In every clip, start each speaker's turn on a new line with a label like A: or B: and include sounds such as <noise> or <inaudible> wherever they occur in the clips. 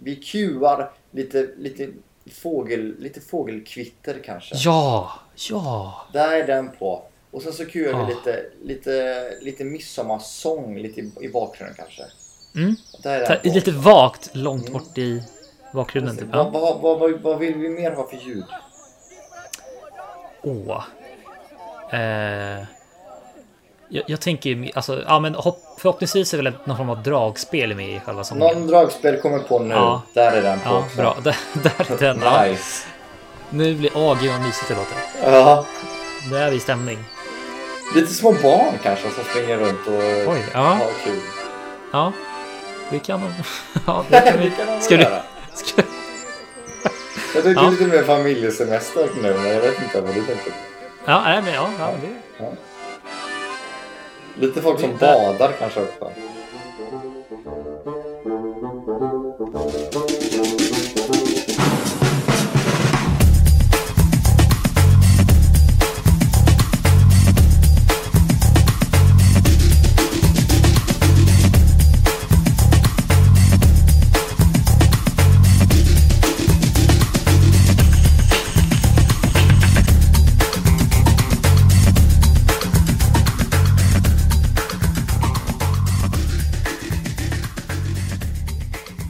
A: vi cuar lite, lite, fågel, lite fågelkvitter kanske.
B: Ja, ja.
A: Där är den på. Och sen så kuar
B: Ah.
A: vi lite, lite, lite midsommarsång lite i, i bakgrunden kanske.
B: Mm.
A: Där är
B: Så här,
A: den på.
B: lite vagt långt bort i bakgrunden. Typ.
A: vad,
B: Ja.
A: vad, vad, vad, vad vill vi mer ha för ljud?
B: Åh. Eh. Jag, jag tänker ju, alltså, ja, men hopp, förhoppningsvis är väl ett- någon form av dragspel med i själva sången.
A: Någon dragspel kommer på nu.
B: Ja.
A: Där är den på
B: Ja,
A: också.
B: bra. <laughs> Där, där är den. Ja.
A: Nice.
B: Nu blir... Åh, gud vad mysigt det låter.
A: Ja.
B: Nu är vi i stämning.
A: Lite små barn kanske som springer runt och
B: Oj, ja.
A: har kul.
B: Ja. Det kan man... <laughs> Ja, det kan
A: <laughs>
B: vi...
A: Det kan man väl
B: Ska du...
A: göra.
B: Ska...
A: Jag tycker
B: Ja.
A: lite mer familjesemester nu, men jag vet inte vad du tänker. på.
B: Ja, nej, men ja. ja men det...
A: Lite folk som
B: Lite.
A: badar kanske också.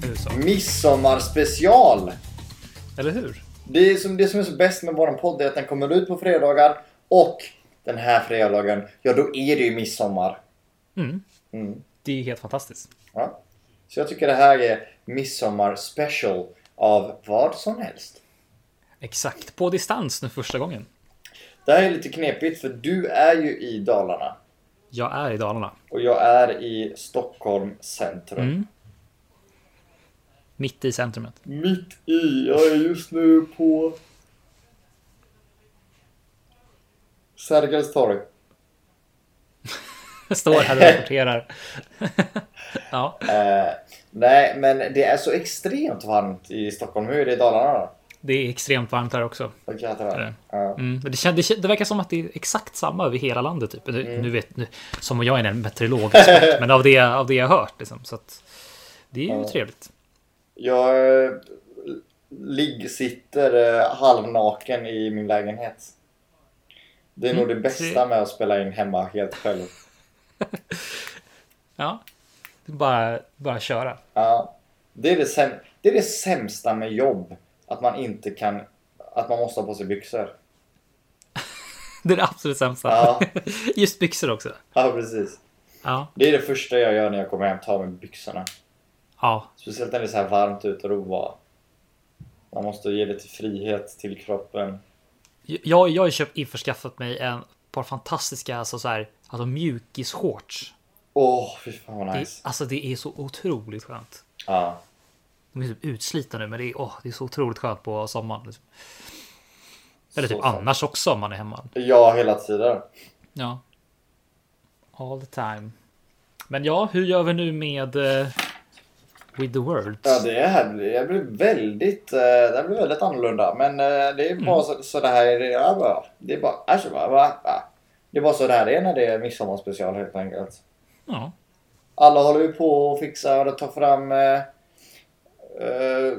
B: Nu så.
A: Midsommarspecial!
B: Eller hur?
A: Det är som, det som är så bäst med vår podd är att den kommer ut på fredagar och den här fredagen, ja då är det ju midsommar.
B: Mm.
A: Mm.
B: Det är helt fantastiskt.
A: Ja. Så jag tycker det här är midsommar special av vad som helst.
B: Exakt. På distans nu första gången.
A: Det här är lite knepigt för du är ju i Dalarna
B: Jag är i Dalarna.
A: och jag är i Stockholm centrum.
B: Mm. Mitt i centrumet.
A: Mitt i, jag är just nu på Sergels torg.
B: Jag
A: <laughs>
B: står här och rapporterar. <laughs> ja.
A: Eh, nej, men det är så extremt varmt i Stockholm. Hur är det i Dalarna då?
B: Det är extremt varmt här också.
A: Åh, jävlar.
B: Är det?
A: Ja.
B: Mm. men Det, kän- det, kän- det verkar som att det är exakt samma över hela landet. Typ. Nu,
A: Mm.
B: nu vet, nu, som jag är en meteorologexpert, men av det, av det jag har hört. Liksom, så att, det är ju
A: Ja.
B: trevligt.
A: Jag eh, ligg sitter eh, halvnaken i min lägenhet. Det är nog det bästa med att spela in hemma helt själv.
B: Ja. Det är Bara, bara köra.
A: Ja, det, är det, säm- det är det sämsta med jobb. Att man inte kan... Att man måste ha på sig byxor.
B: Det är det absolut sämsta.
A: Ja.
B: <laughs> Just byxor också.
A: Ja, precis.
B: Ja.
A: Det är det första jag gör när jag kommer hem. Ta av mig byxorna.
B: ja.
A: Speciellt när det är så här varmt ute och roa. Man måste ge lite frihet till kroppen.
B: Jag, jag har ju köpt införskaffat mig en par fantastiska alltså så här, alltså mjukisshorts.
A: Åh, fy fan vad
B: Det-
A: nice.
B: Alltså det är så otroligt skönt.
A: Ja.
B: De är typ utslitna nu, men det är, åh, det är så otroligt skönt på sommaren. Liksom. Eller
A: Så
B: typ
A: fan.
B: annars också om man är hemma.
A: Ja, hela tiden.
B: Ja. All the time. Men ja, hur gör vi nu med eh, With the Words?
A: Ja, det här blir, det blir väldigt, eh, det här blir väldigt annorlunda. Men eh, det är
B: Mm.
A: bara så, så det här är. Det är bara, det är bara, alltså, va, va, va. Det är bara så det här är när det är midsommarspecial helt enkelt.
B: Ja.
A: Alla håller ju på och fixar och tar fram eh, eh,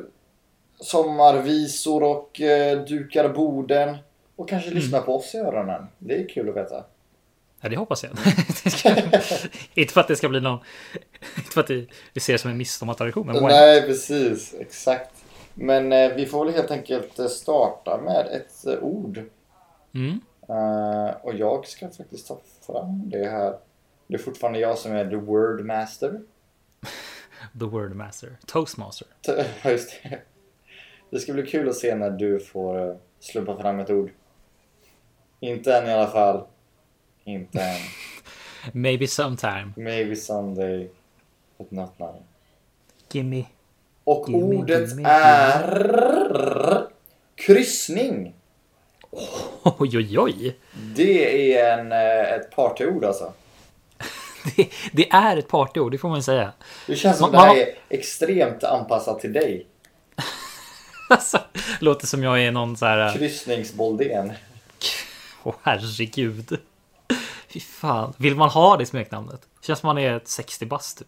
A: sommarvisor och eh, dukar borden. Och kanske lyssnar på oss i öronen. Det är kul att veta.
B: ja, det hoppas jag. <laughs> Det ska- inte för att det ska bli någon... inte för att vi, vi ser det som en midsommartradition, men why?
A: Nej, precis. Exakt. Men eh, vi får väl helt enkelt eh, starta med ett eh, ord.
B: Mm.
A: Eh, och jag ska faktiskt ta fram det här. Det är fortfarande jag som är the word master.
B: The Word Master. Toastmaster.
A: T- <laughs> ja, Just det. det ska bli kul att se när du får eh, slumpa fram ett ord. Inte än i alla fall. Inte än.
B: Maybe sometime.
A: Maybe someday. But not now.
B: Gimme.
A: Och
B: Gimme,
A: ordet
B: gimme, gimme.
A: är kryssning.
B: Oj, oj, oj.
A: Det är en, eh, ett partyord alltså.
B: Det, det är ett partyord, det får man säga. <laughs>
A: Det känns som
B: Ma-
A: det här
B: ma-
A: är extremt anpassat till dig.
B: Alltså, låter som jag är någon så här...
A: Kryssningsboldén.
B: Åh herregud. Fy fan. Vill man ha det smeknamnet? Känns som man är ett 60 bast typ.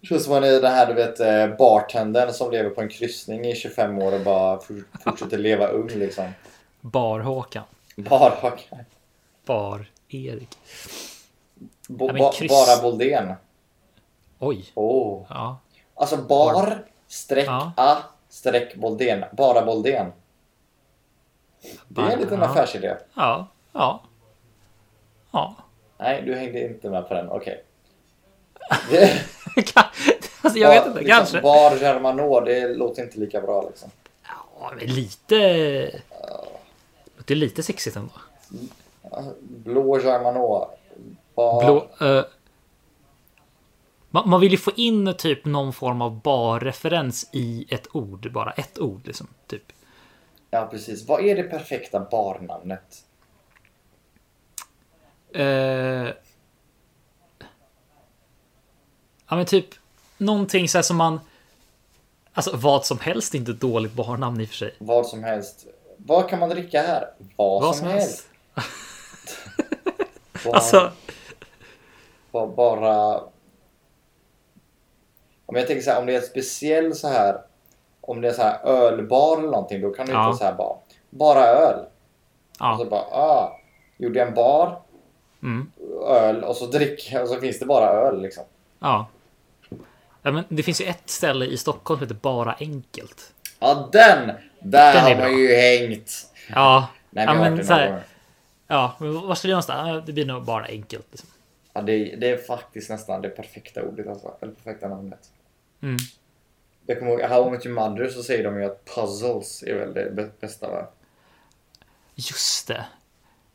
A: Det känns som man är den här du vet eh, bartendern som lever på en kryssning i 25 år och bara for- fortsätter leva ung liksom.
B: Bar-Håkan.
A: Bara,
B: Bar-Erik.
A: bo,
B: Ja, men
A: ba,
B: kryss-
A: bara Boldén.
B: Oj.
A: Oh.
B: Ja.
A: Alltså bar, streck,
B: Ja.
A: a, streck, Boldén. Bara Boldén. Det är en liten
B: Ja.
A: affärsidé.
B: Ja. Ja. Ja. <laughs>
A: Nej, du hängde inte med på den. Okej.
B: alltså, jag vet inte.
A: liksom,
B: Kanske.
A: Bar Germanå, det låter inte lika bra liksom.
B: Ja, men lite... Det är lite sexigt ändå.
A: Blå Germanå. Bar...
B: Blå... eh, man, man vill ju få in typ någon form av barreferens i ett ord. Bara ett ord liksom. Typ.
A: Ja, precis. Vad är det perfekta barnamnet?
B: Eh, ja men typ någonting så här som man... Alltså vad som helst är inte ett dåligt barnnamn i och för sig.
A: Vad som helst. Vad kan man dricka här? Vad,
B: Vad
A: som, helst. Bar,
B: Alltså,
A: ba- bara... Om jag tänker så här, om det är en speciell så här... Om det är så här ölbar eller någonting, då kan du
B: Ja.
A: inte så här bara... Bara öl. Och så
B: ja.
A: bara, ah, gjorde jag en bar,
B: Mm,
A: öl och så drick och så finns det bara öl liksom.
B: ja. ja men det finns ju ett ställe i Stockholm som heter Bara Enkelt.
A: Ja, den! Där
B: Den är
A: har
B: bra.
A: man ju hängt.
B: Ja,
A: Nej,
B: ja
A: men jag har hört
B: men
A: det
B: så
A: några
B: här,
A: gånger.
B: Ja, men vad ska det någonstans? Ja, Det blir nog Bara Enkelt. Liksom.
A: Ja, det, det är faktiskt nästan det perfekta ordet alltså. Eller perfekta namnet.
B: Mm.
A: Jag kommer ihåg, i How I Met Your Mother så säger de ju att puzzles är väl det bä- bästa va?
B: Just det.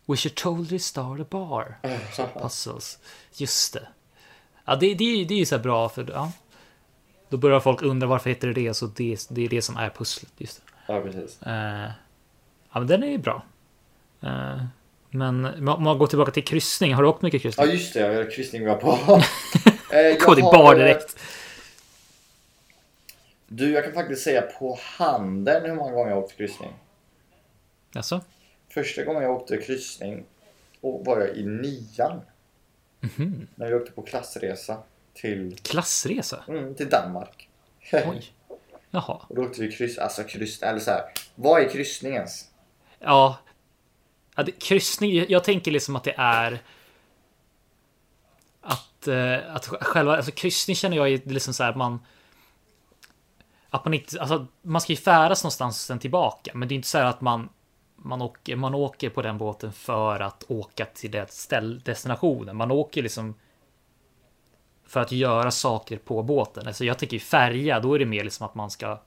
B: We should totally start a bar. Så puzzles. Just det. Ja, det, det, är ju- det är ju så här bra för... Ja. Då börjar folk undra varför heter det det, så det, det är det som är pusslet. Just det.
A: Ja, precis.
B: Eh, ja, men den är ju bra. Eh, men om man- om man går tillbaka till kryssning, har du åkt mycket
A: Ja,
B: kryssning?
A: just det. Jag har kryssning vi var
B: <laughs>
A: på. Eh, jag
B: Gå till
A: har-
B: bar direkt.
A: Du, jag kan faktiskt säga på handen hur många gånger jag har åkt kryssning.
B: Alltså?
A: Första gången jag åkte kryssning och var jag i nian.
B: Mhm.
A: När vi åkte på klassresa till,
B: Klassresa?
A: mm, till Danmark.
B: Oj. Jaha.
A: och då åkte vi kryss, alltså kryss, eller så här. Vad är kryssning ens?
B: Ja. ja det, kryssning, jag tänker liksom att det är att, eh, att själva, alltså kryssning känner jag är liksom så här att man att man inte, alltså man ska ju färdas någonstans och sen tillbaka, men det är inte så här att man man åker, man åker på den båten för att åka till det ställ, destinationen. Man åker liksom för att göra saker på båten. Alltså jag tänker ju färja, då är det mer liksom att man ska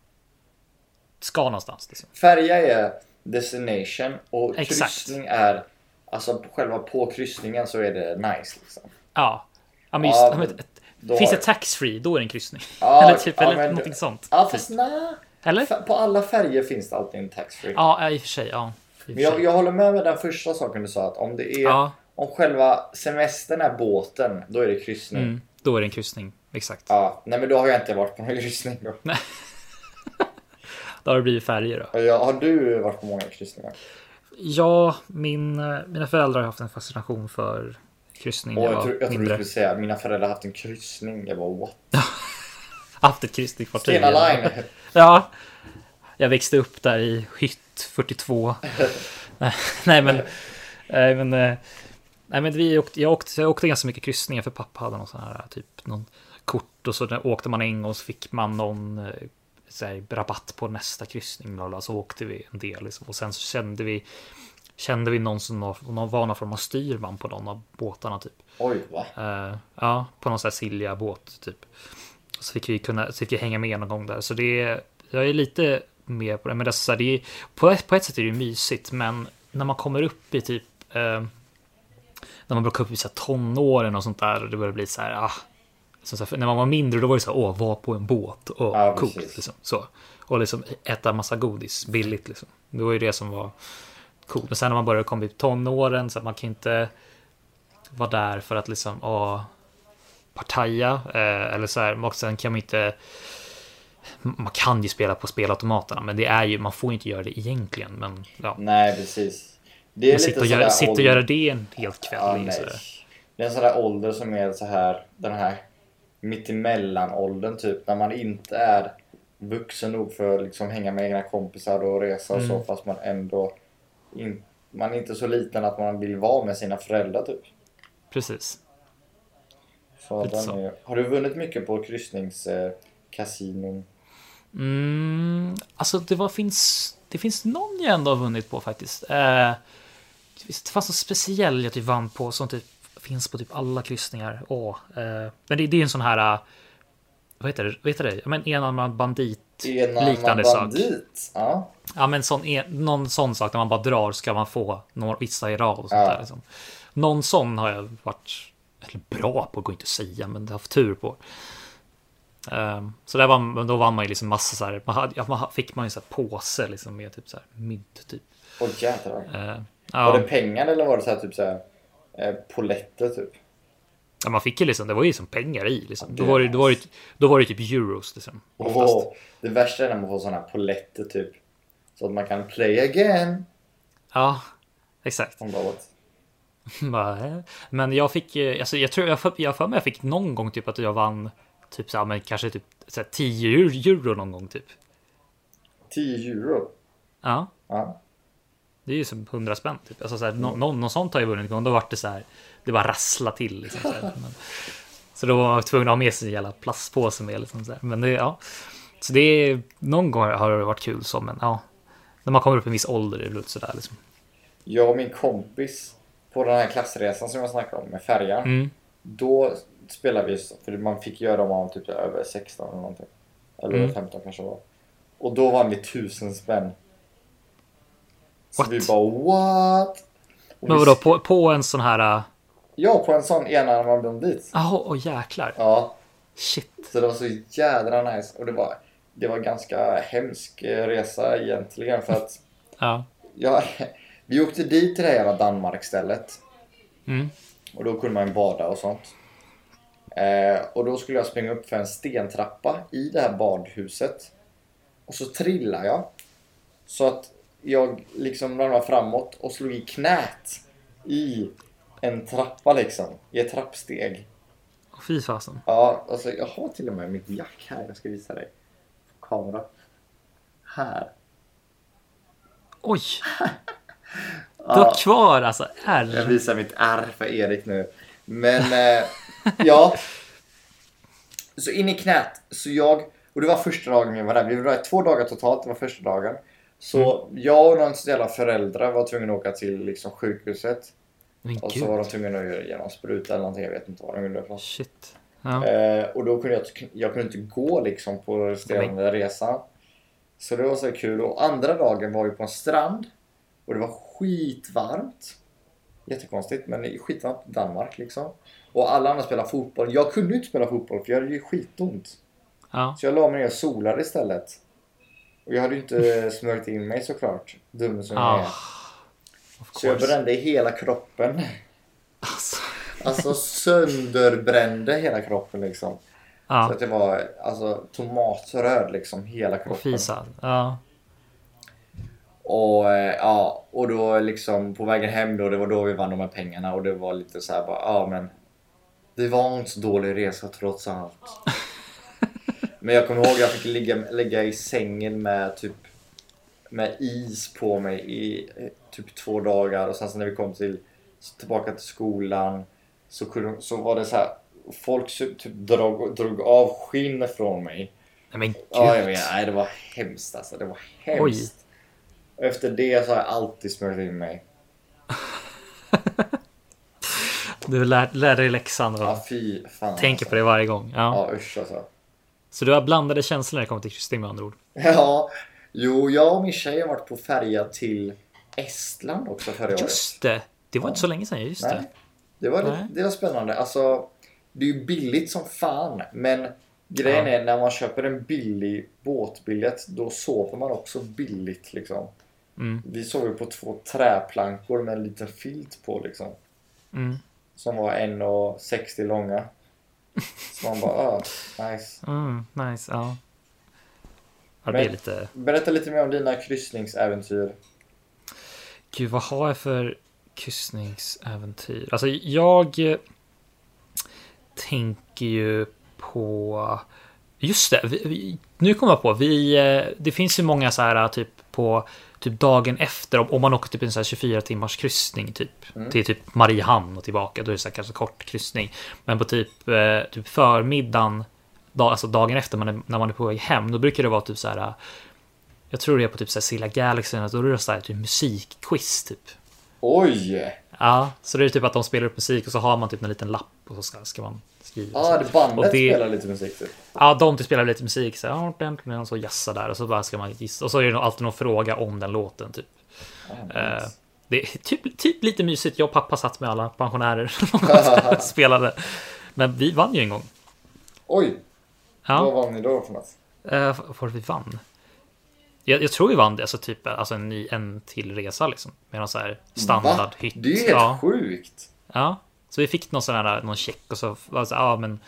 B: ska någonstans. Liksom.
A: Färja är destination och
B: Exakt.
A: kryssning är Alltså själva på kryssningen så är det nice liksom.
B: Ja, ja men just
A: Ja,
B: ja, men,
A: men
B: ett-
A: då
B: Finns
A: har-
B: det taxfree, då är det en kryssning.
A: Ja,
B: <laughs> eller typ,
A: ja,
B: eller
A: men-
B: någonting sånt.
A: Ja
B: typ.
A: fast nej.
B: Eller?
A: Fa- På alla färger finns det alltid en taxfree.
B: Ja, ja, i och för sig. Ja, i och
A: Men
B: för
A: jag,
B: sig.
A: jag håller med med den första saken du sa att om det är
B: Ja.
A: Om själva semestern är båten, då är det kryssning.
B: Mm, då är det en kryssning. Exakt.
A: Ja, nej men då har jag inte varit på någon kryssning då.
B: Då har det blivit färger då.
A: Ja, har du varit på många kryssningar?
B: Ja, min, eh, mina föräldrar har haft en fascination för kryssning.
A: Och
B: när
A: jag, tror- jag
B: var
A: trodde du
B: mindre.
A: skulle säga mina föräldrar har haft en kryssning. Jag bara what?
B: Haft ett kryssningsfartyg.
A: Stena Line!
B: <laughs> Ja. Jag växte upp där i hytt 42. nej, nej, men... Nej, men, eh, nej, men vi åkte, jag, åkte, jag åkte ganska mycket kryssningar för pappa hade någon sån här typ någon kort och så där åkte man en gång så fick man någon eh, så här, rabatt på nästa kryssning. bla, bla, Så åkte vi en del liksom. och sen så kände vi kände vi någon som var, någon var någon form av styrman på någon av båtarna typ.
A: Oj va?
B: Eh, ja, på någon sån här Silja-båt typ. Så fick vi kunna, så fick vi hänga med någon gång där. Så det, jag är lite med på det. Men alltså, det är så här, det är, på, ett, på ett sätt är det ju mysigt, men när man kommer upp i typ, eh, när man börjar komma upp i så här tonåren och sånt där, och det börjar bli så här, ah, som så här, för när man var mindre då var det så här, åh, var på en båt och
A: Ja,
B: coolt
A: precis.
B: liksom. Så. Och liksom äta massa godis billigt liksom. Det var ju det som var coolt. Men sen när man började komma upp i tonåren så att man kan inte vara där för att liksom, åh, partaja. Eh, eller så här, och sen kan man inte... Man kan ju spela på spelautomaterna, men det är ju, man får ju inte göra det egentligen. Men ja,
A: Nej precis. Det är
B: men sitta och, göra, sitta och
A: ålder-
B: göra det en hel kväll. liksom.
A: Ja,
B: är ju
A: nej.
B: sådär.
A: Det är en sån där ålder som är så här den här mittemellanåldern typ. När man inte är vuxen nog för att liksom hänga med egna kompisar och resa och så.
B: Mm.
A: Fast man ändå in, man är inte så liten att man vill vara med sina föräldrar typ.
B: Precis.
A: Så
B: Lite
A: den
B: så.
A: är, har du vunnit mycket på Eh, kryssningskasinon? Eh, kasinon?
B: Mm, alltså det var, finns, det finns någon jag ändå har vunnit på faktiskt. Eh, det finns- det fanns någon speciell jag typ vann på som typ finns på typ alla kryssningar. Åh, eh, men det, det är ju en sån här, eh, vad heter det, vad heter det? Ja, men enarmad bandit
A: Enarmad
B: liknande sak.
A: bandit. Ja.
B: Ja men sån, en- någon sån sak där man bara drar ska man få några vissa i rad och sånt
A: Ja.
B: där. Liksom. Någon sån har jag varit eller bra på, går inte att säga, men haft tur på. Ehm, så där var, men då vann man ju liksom massa så här, man hade, ja, man ha- fick man ju så här påse liksom med typ så här mynt typ.
A: Åh jädrar.
B: Ehm,
A: Var
B: ja,
A: det pengar eller var det så här, typ så här, eh, poletter typ?
B: ja, man fick ju liksom, det var ju som pengar i liksom. Då
A: Det-
B: var det, då var det, då var det typ euros liksom. oftast.
A: Åh, det värsta är när man får såna här poletter typ. Så att man kan play again.
B: Ja, exakt.
A: Som låt.
B: <laughs> Bara, eh. Men jag fick, eh, alltså jag tror, jag för- jag har för mig jag fick någon gång typ att jag vann typ så här, men kanske typ så här 10 eur- euro någon gång typ.
A: 10 euro.
B: Ja,
A: Ja.
B: det är ju som 100 spänn typ. Alltså så här, nå- någon, någon sånt har jag vunnit någon gång. Då vart det så här, det bara rassla till liksom. Så, här. Men, så då var jag tvungen att ha med sig en jävla plastpåse med liksom så här. Men det, ja. Så det är, någon gång har det varit kul så, men ja. När man kommer upp i en viss ålder är det väl så där liksom.
A: Jag och min kompis på den här klassresan som jag snackade om med färjan.
B: Mm,
A: Då spelade vi, för man fick göra dem om man var typ över 16 eller någonting. Eller
B: Mm.
A: 15 kanske det var. Och då vann vi 1000 spänn. Så
B: What?
A: vi bara what? Och
B: Men
A: vi-
B: vadå, på, på en sån här, äh,
A: Ja, på en sån enarmad bandit.
B: jaha, åh jäklar.
A: Ja,
B: Shit.
A: Så det var så jädra nice och det var, det var ganska hemsk eh, resa egentligen för att
B: Ja.
A: jag, <laughs> vi åkte dit till det här jävla Danmark-stället
B: Mm.
A: och då kunde man ju bada och sånt. Eh, och då skulle jag springa upp för en stentrappa i det här badhuset och så trillade jag så att jag liksom ramlade framåt och slog i knät i en trappa liksom, i ett trappsteg.
B: Fy fasen.
A: Ja, alltså jag har till och med mitt jack här. Jag ska visa dig. På kamera. Här.
B: Oj, du
A: Ja,
B: har kvar alltså
A: jag
B: ärr.
A: visar mitt ärr för Erik nu. Men eh, ja. Så in i knät. Så jag, och det var första dagen vi var där. Vi var där två dagar totalt. Det var första dagen. Så jag och någons jävla föräldrar var tvungna att åka till liksom, sjukhuset.
B: Men
A: Och så var
B: gud.
A: de tvungna att göra genom spruta eller någonting. Jag vet inte vad de gjorde. för något.
B: Shit. Ja.
A: Eh, och då kunde jag, jag kunde inte gå liksom på resterande resan. Så det var så kul. Och andra dagen var vi på en strand. Och det var skitvarmt. Jättekonstigt, men det är skitvarmt i Danmark liksom. Och alla andra spelade fotboll. Jag kunde ju inte spela fotboll för jag hade ju skitont.
B: ja.
A: Så jag la mig ner och solade istället. Och jag hade ju
B: <laughs>
A: inte smörjt in mig såklart. Dum som jag är.
B: Ah, of
A: Så jag
B: course.
A: brände hela kroppen.
B: Alltså,
A: Alltså sönderbrände hela kroppen liksom. Så
B: ja,
A: att det var alltså, tomatröd liksom hela
B: och
A: kroppen.
B: fisa. Ja.
A: Och, eh, ja, och då liksom på vägen hem då, det var då vi vann de här pengarna och det var lite så här bara, ja men det var en så dålig resa trots
B: <laughs>
A: allt. men jag kommer ihåg jag fick ligga, ligga i sängen med typ med is på mig i eh, typ två dagar och sen så när vi kom till tillbaka till skolan så, kunde, så var det så här folk typ drog, drog av skinn från mig.
B: Nej men
A: Ja, jag
B: gud.
A: vet. Nej, det var hemskt alltså. Det var hemskt. Och Efter det så har jag alltid smörjt in mig.
B: Du lär, lär dig läxan och
A: Ja, fy fan.
B: tänker på
A: alltså.
B: det varje gång. Ja.
A: Ja, usch alltså. <laughs>
B: Så du har blandade känslor när det kommer till Kristin med andra ord.
A: Ja, jo, jag och min tjej har varit på färja till Estland också förra året.
B: Just det. Det var inte så länge sedan. Just det.
A: Nej. Det var,
B: Nej.
A: lite- det var spännande. Alltså, det är ju billigt som fan, men grejen
B: Ja.
A: är när man köper en billig båtbiljett, då sover man också billigt liksom.
B: Mm.
A: Vi sov ju på två träplankor med en liten filt på liksom.
B: Mm.
A: som var 1,60
B: <laughs>
A: långa. Så man bara, ah, nice.
B: Mm. Nice. Ja. ja det
A: Men-
B: är lite...
A: Berätta lite mer om dina kryssningsäventyr.
B: Gud, vad har jag för kryssningsäventyr? Alltså, jag eh, tänker ju på... Just det, vi, vi, nu kommer jag på. Vi, eh, det finns ju många så här typ på typ dagen efter om, om man åker typ en så här 24 timmars kryssning typ till typ Mariehamn och tillbaka. Då är det så här kanske kort kryssning, men på typ, eh, typ förmiddagen, dag, alltså dagen efter man är, när man är på väg hem, då brukar det vara typ så här. eh, Jag tror det är på typ så här Silla Galaxy, då är det så här typ musikquiz typ.
A: Oj!
B: Ja, så det är typ att de spelar upp musik och så har man typ en liten lapp och så ska, ska man skriva.
A: Ja,
B: så.
A: ah, det bandet
B: Och det-
A: spelar lite musik typ.
B: Ja, de typ spelar lite musik så här, "Ja, och så jassa där och så bara ska man gissa. Och så är det nog alltid någon fråga om den låten typ.
A: Ah,
B: Eh.
A: nice.
B: Det är typ, typ lite mysigt. Jag och pappa satt med alla <laughs>
A: <laughs>
B: pensionärer och spelade. Men vi vann ju en gång.
A: Oj! Vad
B: Ja,
A: vann ni då för något?
B: eh, för att vi vann. Jag, jag tror vi vann det, alltså typ alltså en, ny, en till resa liksom. Med någon så här
A: Va?
B: standardhytt.
A: Det är ju helt
B: ja.
A: sjukt.
B: Ja, så vi fick någon sån här någon check och så var det så här, ja men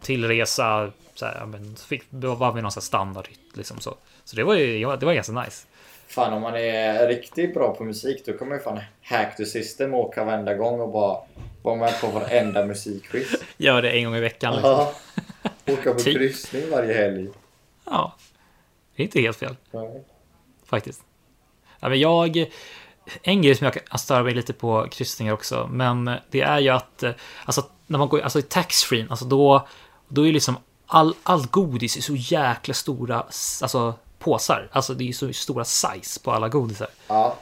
B: till resa så här, ja, men så fick, då var vi någon sån här standardhytt liksom så. Så det var ju ja, det var ganska nice.
A: Fan om man är riktigt bra på musik då kommer man ju fan hack the system och åka varenda gång och bara vara med på varenda musikquiz.
B: <laughs> Gör det en gång i veckan. Liksom.
A: Ja. Åka på
B: Typ.
A: kryssning varje helg.
B: Ja, det är inte helt fel
A: Ja.
B: faktiskt. Ja, men jag, en grej som jag kan störa mig lite på kryssningar också, men det är ju att eh, alltså, när man går alltså, i taxfree, alltså då, då är liksom all, allt godis i så jäkla stora s- alltså, påsar. Alltså det är ju så stora size på alla godisar.
A: ja.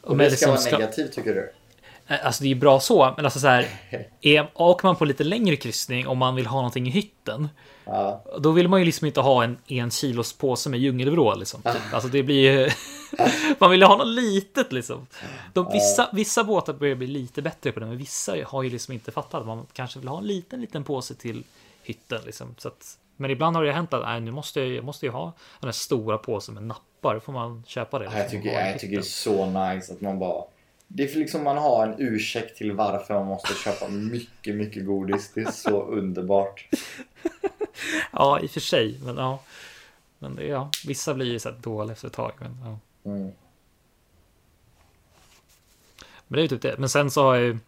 A: Och
B: men
A: det ska
B: liksom
A: vara negativt tycker du?
B: Eh, Alltså det är ju bra så, men alltså
A: <laughs>
B: så här. Är, åker man på lite längre kryssning om man vill ha någonting i hytten.
A: Ja.
B: Då vill man ju liksom inte ha en en kilos påse med djungelvrål liksom.
A: Ah.
B: Typ. Alltså det blir
A: <laughs>
B: ju... man vill ju ha något litet liksom. De, vissa, vissa båtar börjar bli lite bättre på det, men vissa har ju liksom inte fattat. Man kanske vill ha en liten, liten påse till hytten liksom. Så att, men ibland har det ju hänt att nej, nu måste jag, jag måste ju ha den här stora påsen med nappar. Då får man köpa det.
A: Ja, Jag
B: liksom, och
A: tycker,
B: ha i
A: jag tycker det är
B: hytten.
A: så nice att man bara... Det är liksom man har en ursäkt till varför man måste köpa mycket, mycket godis. Det är så underbart.
B: Ja, i och för sig. Men ja. Men det, ja. Vissa blir ju så här dåliga efter ett tag. Men, ja.
A: Mm.
B: men det är ju typ det. Men sen så har jag ju.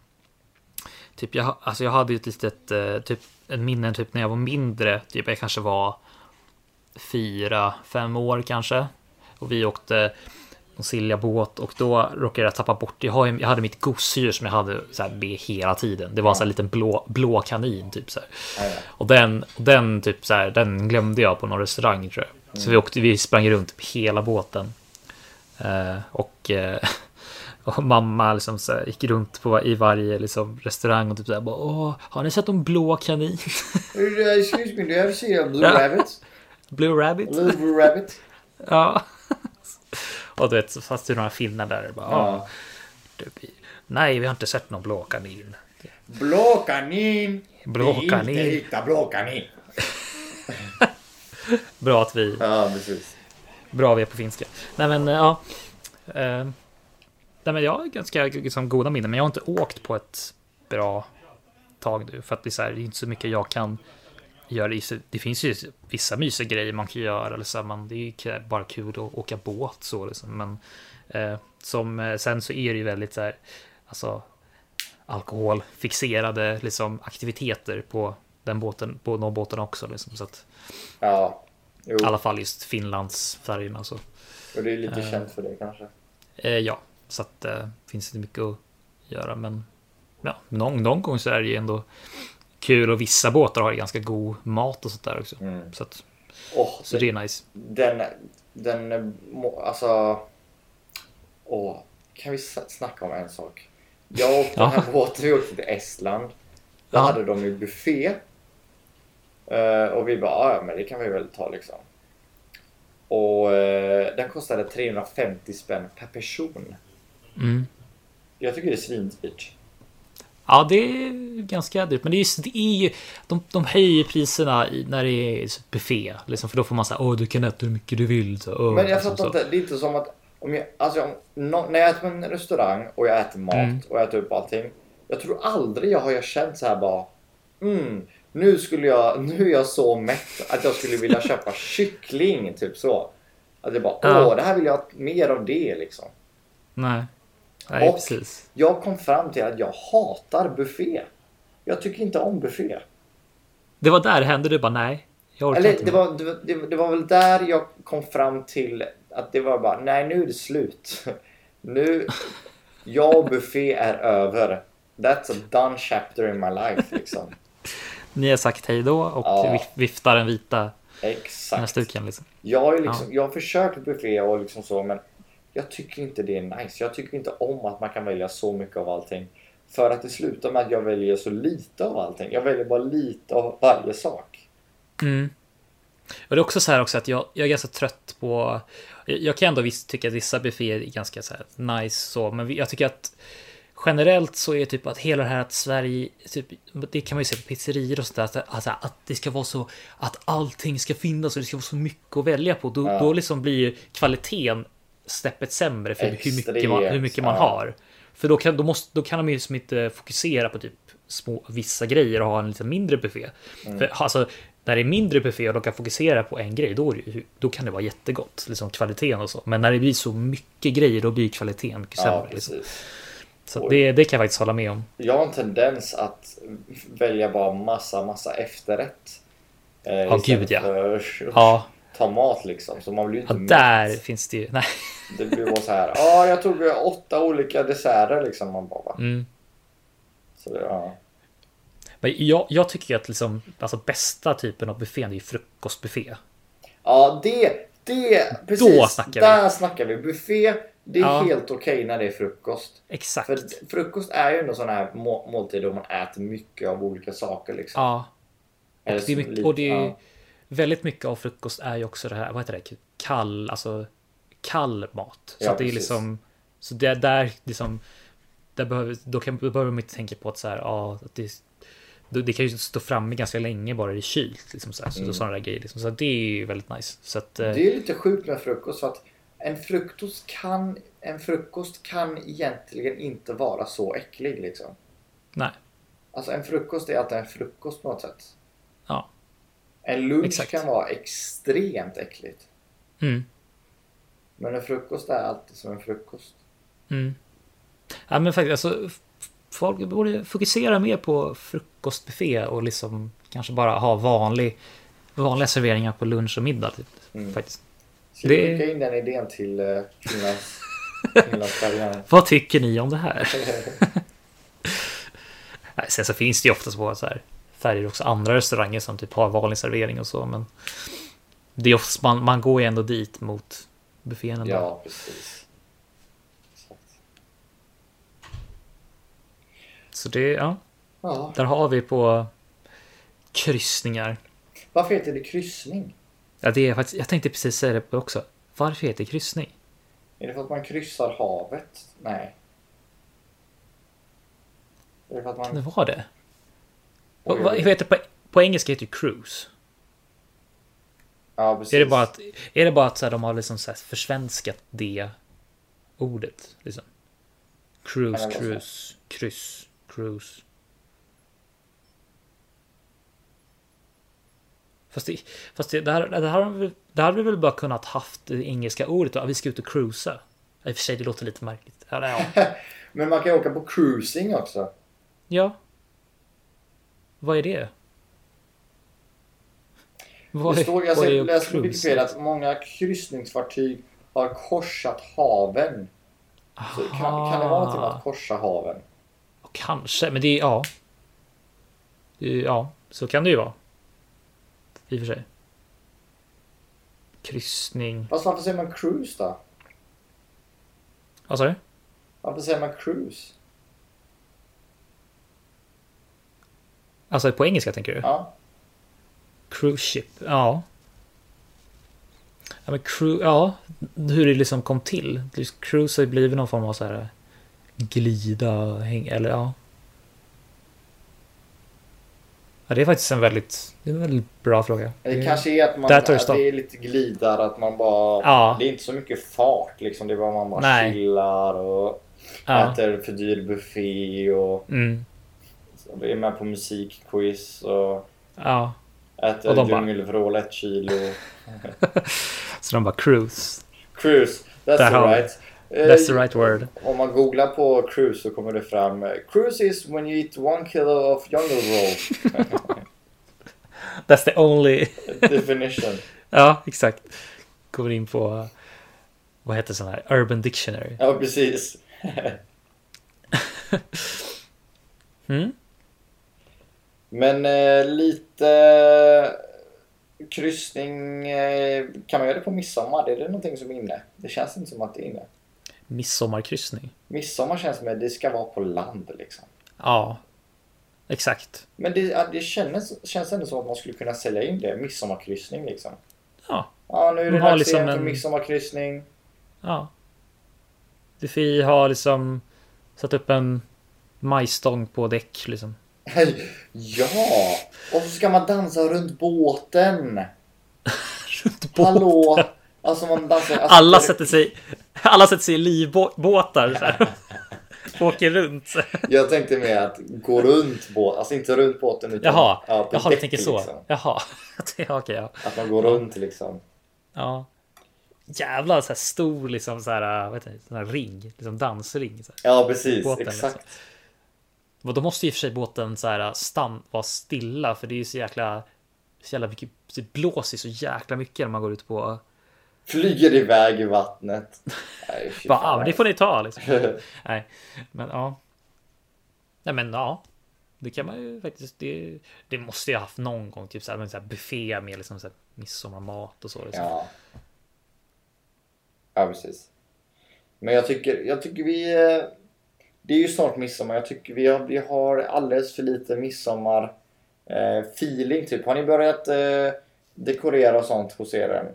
B: Typ jag, alltså jag hade ju ett litet eh, typ, en minne typ när jag var mindre. Typ jag kanske var fyra, fem år kanske. Och vi åkte någon Siljabåt och då råkade jag tappa bort. Jag, har, ju- jag hade mitt gosedjur som jag hade så här med hela tiden. Det var en sån här liten blå, blå kanin typ så här.
A: Ja,
B: <laughs>
A: ja.
B: Och den, och den, typ så här, den glömde jag på någon restaurang tror jag. Så vi, åkte, vi sprang runt typ hela båten. Eh, och, eh, <laughs> och mamma liksom så här, gick runt på, i varje liksom, restaurang och typ så här, bara, Åh, har ni sett en blå kanin? <laughs>
A: Uh, Excuse me, do you ever see a blue
B: Ja.
A: rabbit?
B: Blue rabbit?
A: A little blue rabbit?
B: Ja. <laughs> och du vet, så fanns det några finnar där. Bara, ja.
A: Ja.
B: Nej, vi har inte sett någon blå kanin.
A: Blå kanin!
B: Blå
A: Vi
B: kanin.
A: inte hitta blå kanin.
B: Bra att vi
A: Ja, precis.
B: bra vi är på finska. Nej men eh, ja. Eh, Nej men jag har ganska liksom, goda minnen, men jag har inte åkt på ett bra tag nu. För att det är, så här, det är inte så mycket jag kan göra. i- Det finns ju vissa mysiga grejer man kan göra. Eller så här, man, det är ju k- bara kul att åka båt så liksom. Men eh, som, eh, sen så är det ju väldigt så här, alltså alkoholfixerade liksom, aktiviteter på den båten, på de båtarna också. Liksom, så att,
A: Ja. Jo,
B: I alla fall just Finlandsfärjorna. Alltså.
A: och det är lite känt för det kanske.
B: Eh, ja, så att eh, finns inte mycket att göra, men ja, någon, någon gång så är det ju ändå kul och vissa båtar har ju ganska god mat och sånt där också.
A: Mm.
B: Så, att,
A: Åh,
B: så det är nice.
A: den, den, eh, må- alltså... Åh, kan vi s- snacka om en sak? Jag åkte
B: Ja.
A: den här båten, vi åkte till Estland. Där
B: Ja.
A: hade de ju buffé. Eh, och vi bara, "Ah, ja men det kan vi väl ta liksom. Och eh, den kostade 350 spänn per person.
B: Mm.
A: Jag tycker det är svindyrt.
B: Ja, det är ganska dyrt, men det är, just, det är ju de, de höjer priserna i, när det är buffé, liksom, för då får man säga åh, du kan äta hur mycket du vill. Så, åh",
A: Men jag
B: liksom,
A: fattar
B: så.
A: inte, det är inte som att om jag, alltså, om, nå- när jag äter på en restaurang och jag äter mat
B: Mm.
A: och jag äter upp allting. Jag tror aldrig jag har jag känt så här bara mm, nu skulle jag, nu är jag så mätt att jag skulle vilja
B: <laughs>
A: köpa kyckling, typ så. Att jag bara,
B: Ja.
A: åh, det här vill jag ha mer av det liksom.
B: Nej, Nej
A: Och-
B: precis.
A: Jag kom fram till att jag hatar buffé. Jag tycker inte om buffé.
B: Det var där det hände, du bara nej. Jag orkar
A: Eller
B: inte
A: det
B: mer.
A: var, det, var- det, det var väl där jag kom fram till att det var bara, nej nu är det slut. Nu, jag och buffé är över. That's a done chapter in my life liksom.
B: Ni har sagt hej då och
A: Ja.
B: vif- viftar den vita
A: Exakt.
B: näsduken. Liksom.
A: Jag har, ju liksom, jag har försökt buffé och liksom så men jag tycker inte det är nice. Jag tycker inte om att man kan välja så mycket av allting. För att det slutar med att jag väljer så lite av allting. Jag väljer bara lite av varje sak.
B: Mm. Och det är också så här också att jag, jag är ganska trött på... jag- Jag kan ändå visst tycka att vissa bufféer är ganska så här nice så, men vi- jag tycker att generellt så är typ att hela det här att Sverige, typ, det kan man ju se på pizzerior och sådär, att, att, att det ska vara så att allting ska finnas och det ska vara så mycket att välja på. Då,
A: Ja.
B: då liksom blir ju kvaliteten steppet sämre för hur mycket man, hur mycket man
A: Extremt, ja.
B: har. För då kan, då, måste, då kan de ju liksom inte fokusera på typ små, vissa grejer och ha en lite mindre buffé.
A: Mm.
B: För, alltså, när det är mindre buffé och de kan fokusera på en grej, då, är det ju- då kan det vara jättegott. Liksom kvaliteten och så. Men när det blir så mycket grejer, då blir kvaliteten mycket sämre.
A: Ja,
B: liksom.
A: precis.
B: Så att det, det kan jag faktiskt hålla med om.
A: Jag har en tendens att välja bara massa, massa efterrätt. Eh, istället
B: gud, ja.
A: för
B: Ja,
A: ta mat liksom. Så man blir ju
B: ja
A: inte
B: där
A: mätt.
B: finns det ju... <laughs> Nej.
A: Det blir bara så här. Ja, jag tog eh, åtta olika desserter liksom. Man bara, va?
B: Mm.
A: Så, det- ja.
B: Men jag, jag tycker ju att liksom, alltså bästa typen av buffé det är ju frukostbuffé.
A: ja, det, det, precis.
B: snackar vi.
A: där snackar vi. Buffé, det är
B: Ja.
A: helt okej när det är frukost.
B: Exakt.
A: För d- frukost är ju ändå sån här må- måltid där man äter mycket av olika saker liksom.
B: Ja,
A: Eller
B: det är
A: så
B: mycket,
A: Alltså, lite-
B: och det är ju,
A: ja.
B: väldigt mycket av frukost är ju också det här, vad heter det, kall, alltså kall mat. Så
A: Ja,
B: att det är
A: precis.
B: liksom, så det är där liksom, där behöver, då, kan, då behöver man inte tänka på att så här, ja, att det, då- det kan ju stå framme ganska länge bara det är kylt. Liksom så här, så
A: Mm.
B: sådana där grejer. Liksom. Så att det är ju väldigt nice. Så att, eh,
A: Det är lite sjukt med frukost för att en frukost kan, en frukost kan egentligen inte vara så äcklig liksom.
B: nej.
A: Alltså en frukost är alltid en frukost på något sätt.
B: Ja.
A: En lunch
B: Exakt.
A: kan vara extremt äckligt.
B: Mm,
A: Men en frukost är alltid som en frukost.
B: mm. Ja, men faktiskt, alltså, f- folk borde fokusera mer på frukostbuffé och liksom kanske bara ha vanlig, vanliga serveringar på lunch och middag. Typ,
A: Mm.
B: faktiskt.
A: Ska
B: Det-
A: vi skicka in den idén till eh,
B: <laughs>
A: Finlands, Finlandsfärjan?
B: Vad tycker ni om det här? Nej, Sen så finns det ju oftast på så här färger också andra restauranger som typ har vanlig servering och så, men det är oftast man, man går ju ändå dit mot buffén ändå.
A: ja, precis. Exakt.
B: Så det, ja,
A: Ja.
B: där har vi på kryssningar.
A: Varför heter det kryssning?
B: Ja, det är faktiskt, jag tänkte precis säga det också. Varför heter det kryssning?
A: Är det för att man kryssar havet? Nej. Är det för att
B: Kan det
A: man...
B: vara det?
A: Oj,
B: Vad,
A: oj,
B: vad
A: oj.
B: heter det på, på engelska heter det cruise.
A: Ja, precis.
B: Är det bara att, är det bara att så här, de har liksom så här försvenskat det ordet? Liksom.
A: Kan
B: Cruise,
A: det vara så?
B: cruise, kryss, cruise. Fast, det, fast det, det, här, det, här, har vi- det här hade vi väl bara kunnat haft det engelska ordet. va? Vi ska ut och cruisa. I och för sig, det låter lite märkligt. Ja, nej, ja.
A: Men man kan ju åka på cruising också.
B: ja. Vad är det? Vad
A: det
B: är-
A: står, jag
B: vad är
A: ser,
B: att
A: läser på
B: cruisa?
A: Wikipedia att många kryssningsfartyg har korsat haven. Så kan, kan det vara någonting med
B: Aha.
A: att korsa haven?
B: Och Kanske, men det är ja. Det är- Ja, så kan det ju vara. I och för sig. Kryssning.
A: Fast varför säger man cruise då?
B: Vad sa du?
A: Varför säger man cruise?
B: Alltså på engelska tänker du?
A: Ja,
B: Cruise ship. Ja. Ja, men cru- ja, hur det liksom kom till. Just Cruise har ju blivit någon form av så här eh, glida, häng, eller ja. Ja, det är faktiskt en väldigt, det är en väldigt bra fråga.
A: det kanske är att, man,
B: Mm. Där tar det
A: att
B: stopp.
A: det är lite glidar, att man bara...
B: Ja.
A: Det är inte så mycket fart liksom, det är bara man bara
B: Nej.
A: chillar och
B: Ja.
A: äter för dyr buffé och
B: Mm.
A: är med på musikquiz och
B: Ja.
A: äter
B: Och de bara-
A: djungelvrål ett kilo.
B: Så de bara cruise.
A: Cruise, that's
B: Där har vi.
A: right. Eh,
B: That's the right word.
A: Om man googlar på cruise så kommer
B: <laughs>
A: det fram eh, Cruise is when you eat one kilo of jungle roll.
B: That's the only...
A: Definition.
B: <laughs> Ja, exakt. Kommer in på... Vad heter sån här? Urban Dictionary.
A: Ja, precis. <laughs> Hmm?
B: Mm.
A: Men eh, lite eh, kryssning eh, kan man göra det på midsommar? Det är det någonting som är inne? Det känns inte som att det är inne.
B: Midsommarkryssning.
A: Midsommar känns som att det ska vara på land liksom.
B: Ja, exakt.
A: Men det, ja, det känns, känns ändå som att man skulle kunna sälja in det. Midsommarkryssning liksom.
B: Ja,
A: Ja, nu är det
B: De har
A: dags
B: liksom
A: igen för
B: en-
A: midsommarkryssning. <laughs>
B: ja. Defi har liksom satt upp en majstång på däck liksom.
A: Ja! Och så ska man dansa runt båten.
B: <laughs> Runt båten.
A: Hallå! Alltså man dansar... Alltså,
B: Alla
A: det-
B: sätter sig, <laughs> alla sätter sig i livbåtar.
A: <laughs>
B: Så här. Åker runt. så här.
A: Jag tänkte mer att gå runt båten, alltså inte runt båten utan...
B: <laughs> Jaha,
A: ja, på
B: jaha du
A: däck,
B: tänker så.
A: Liksom.
B: Jaha, <laughs> Det- ja, okej. Ja.
A: Att man går runt liksom.
B: ja. Jävla så här stor liksom så här, vad heter det, sån här ring, liksom dansring. Så här.
A: Ja precis,
B: Båten, liksom.
A: exakt.
B: Men då måste ju i och för sig båten så här stann, vara stilla för det är ju så jäkla, så jävla mycket, det blåser ju så jäkla mycket när man går ut på
A: Flyger iväg i
B: <laughs>
A: vattnet. Nej, fy
B: Bara,
A: fan.
B: ah, men det får ni ta liksom. Nej, men ja. Nej, men ja. Det kan man ju faktiskt. Det, det måste jag ha haft någon gång. Typ så här, men så här buffé med liksom så här midsommarmat och så. Liksom.
A: Ja. Ja precis. Men jag tycker, jag tycker vi... eh, Det är ju snart midsommar. Jag tycker vi har, vi har alldeles för lite midsommar eh, feeling typ. Har ni börjat eh, dekorera och sånt hos er än?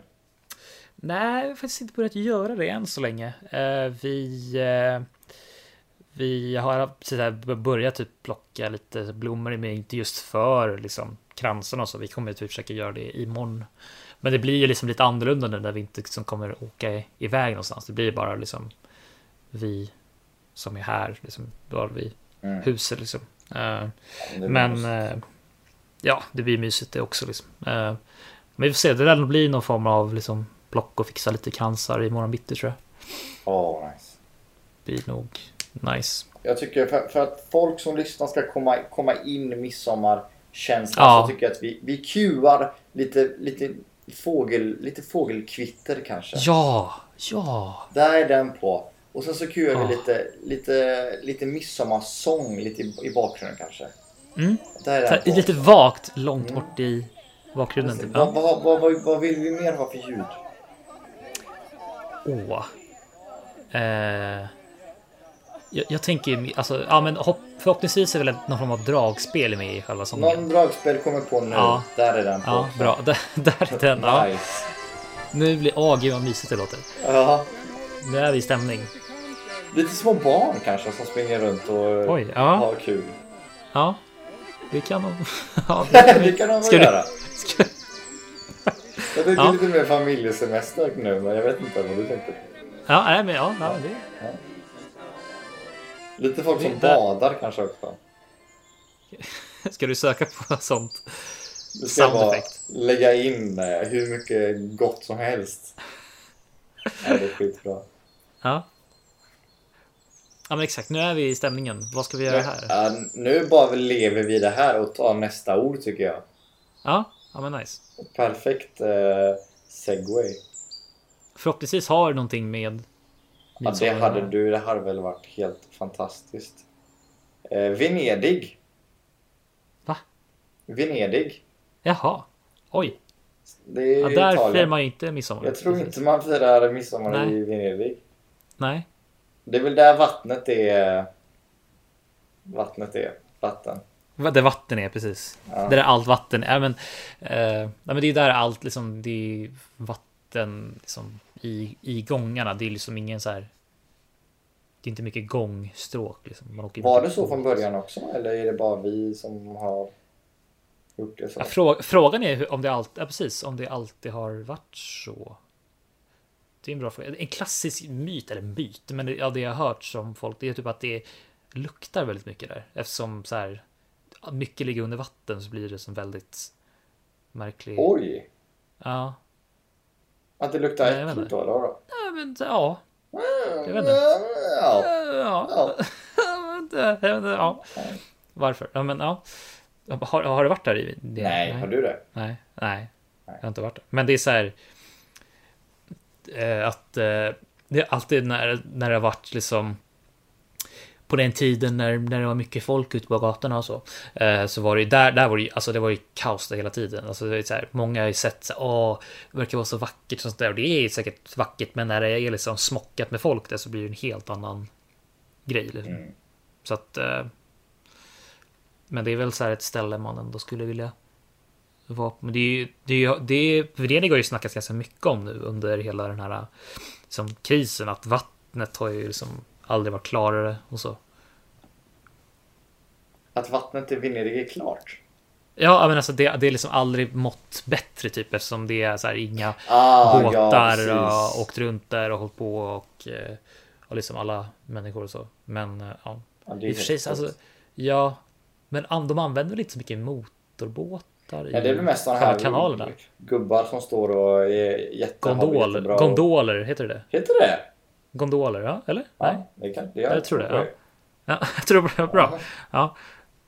B: Nej, vi har faktiskt inte börjat göra det än så länge. Eh, vi, eh, vi har precis här börjat typ plocka lite blommor, men inte just för liksom, kransen och så. Vi kommer typ försöka göra det imorgon. Men det blir ju liksom lite annorlunda nu när vi inte liksom kommer åka i- iväg någonstans. Det blir bara liksom vi som är här, liksom, då har vi
A: Mm.
B: huset liksom.
A: Det
B: Eh,
A: är
B: men
A: mysigt.
B: eh, ja, det blir mysigt det också. Liksom. Eh, men vi får se, det där blir någon form av liksom, plock och fixa lite kransar imorgon bitti tror jag.
A: Åh, vad nice.
B: Blir nog nice.
A: Jag tycker för, för att folk som lyssnar ska komma, komma in i midsommarkänslan
B: Ja.
A: så tycker jag att vi, vi cuear lite, lite, fågel, lite fågelkvitter kanske.
B: Ja, ja,
A: Där är den på. Och sen så cuear
B: Ah.
A: vi lite, lite, lite midsommarsång lite i, i bakgrunden kanske.
B: Mm.
A: Där
B: så
A: är
B: här,
A: den på.
B: lite vagt långt bort i bakgrunden. Typ.
A: Vad,
B: Ja.
A: vad, vad, vad, vad vill vi mer ha för ljud?
B: Åh. Eh, jag, jag tänker ju, alltså, ja, men hopp, förhoppningsvis är väl ett- någon form av dragspel med i själva sången.
A: Någon dragspel kommer på nu.
B: Mm. Ja.
A: Där är den på.
B: Ja, bra. <laughs> Där, där är den. Ja.
A: Nice.
B: Nu blir... Åh, gud vad mysigt det låter.
A: Ja.
B: Nu är vi i stämning.
A: Lite små barn kanske som springer runt och
B: Oj, ja.
A: har kul. <laughs>
B: Ja. Det kan de. <laughs> Ja,
A: det kan de väl
B: Ska du-
A: göra.
B: ska-
A: Jag tänkte
B: Ja.
A: lite mer familjesemester nu, men jag vet inte vad du tänkte.
B: ja, nej, men ja, ja, det...
A: Lite folk som
B: Inte.
A: badar kanske också.
B: Ska du söka på sånt?
A: Du ska bara
B: Soundeffekt.
A: lägga in eh, hur mycket gott som
B: <laughs>
A: helst. Ja, det är skitbra.
B: Ja. Ja, men exakt. Nu är vi i stämningen. Vad ska vi göra här?
A: Ja, nu bara lever vi det här och tar nästa ord tycker jag.
B: Ja, ja men nice.
A: Perfekt eh, segway.
B: Förhoppningsvis har du någonting med...
A: Ja, det
B: midsommar.
A: hade du, det hade väl varit helt fantastiskt. Eh, Venedig.
B: Va?
A: Venedig.
B: Jaha. Oj.
A: Det är
B: Ja, där
A: Italien.
B: firar man ju inte midsommar.
A: Jag tror
B: Precis.
A: inte man firar midsommar
B: Nej.
A: i Venedig.
B: Nej.
A: Det är väl där vattnet är... Vattnet är. Vatten.
B: Va- Där vatten är precis.
A: Ja.
B: Där är allt vatten. Ja, men, eh, nej, men det är där allt liksom, det är vatten liksom, i, i gångarna. Det är liksom ingen så här. Det är inte mycket gångstråk. Liksom. Man åker
A: Var
B: inte
A: det så
B: tåg,
A: från
B: liksom.
A: början också? Eller är det bara vi som har gjort det så?
B: Ja, frå, frågan är hur- om det, allt, ja, precis, om det alltid har varit så. Det är en bra fråga. En klassisk myt, eller myt, men det, ja, det jag har hört som folk, det är typ att det luktar väldigt mycket där. Eftersom så här, mycket ligger under vatten så blir det som väldigt märklig.
A: Oj!
B: Ja.
A: Att det luktar
B: Nej, jag vet
A: äckligt
B: inte.
A: då eller vadå?
B: Ja, men ja. Jag vet inte.
A: Ja.
B: Ja.
A: Ja.
B: <laughs> Ja. Ja. Varför? Ja, men ja. Har, har du varit där i det?
A: Nej, har du det?
B: Nej, nej.
A: Nej.
B: Jag har inte varit där. Men det är så här. Eh, att eh, det är alltid när, när det har varit liksom. På den tiden när, när det var mycket folk ute på gatorna och så. Eh, så var det ju där, där var det ju, alltså det var ju kaos där hela tiden. Alltså det är så här, många har ju sett så här, åh, det verkar vara så vackert och sånt där. Och det är säkert vackert, men när det är liksom smockat med folk där så blir det en helt annan grej. Liksom.
A: Mm.
B: Så att. eh, Men det är väl så här ett ställe man ändå skulle vilja vara på. Men det är ju, det är ju, det är, Venedig har ju snackats ganska mycket om nu under hela den här liksom, krisen. Att vattnet har ju liksom aldrig varit klarare och så.
A: Att vattnet i Venedig är klart?
B: Ja, men alltså det, det är liksom aldrig mått bättre typ eftersom det är så här inga
A: Ah,
B: båtar
A: precis.
B: och åkt runt där och hållit på och, eh, och liksom alla människor och så. Men eh, ja,
A: Ja, det är
B: i och för sig
A: helt
B: så alltså,
A: sjukt.
B: ja, men an- de använder väl inte så mycket motorbåtar i
A: Ja, det är väl mest sådana
B: själva
A: här
B: kanalerna.
A: gubbar som står och är jätte, har
B: Gondol,
A: jättebra-
B: gondoler, heter det
A: Heter det?
B: Gondoler, ja, eller? Nej,
A: Ja, det kan, det gör
B: Jag tror det, ja. ja, <laughs> jag tror det var bra.
A: Ja.
B: Ja.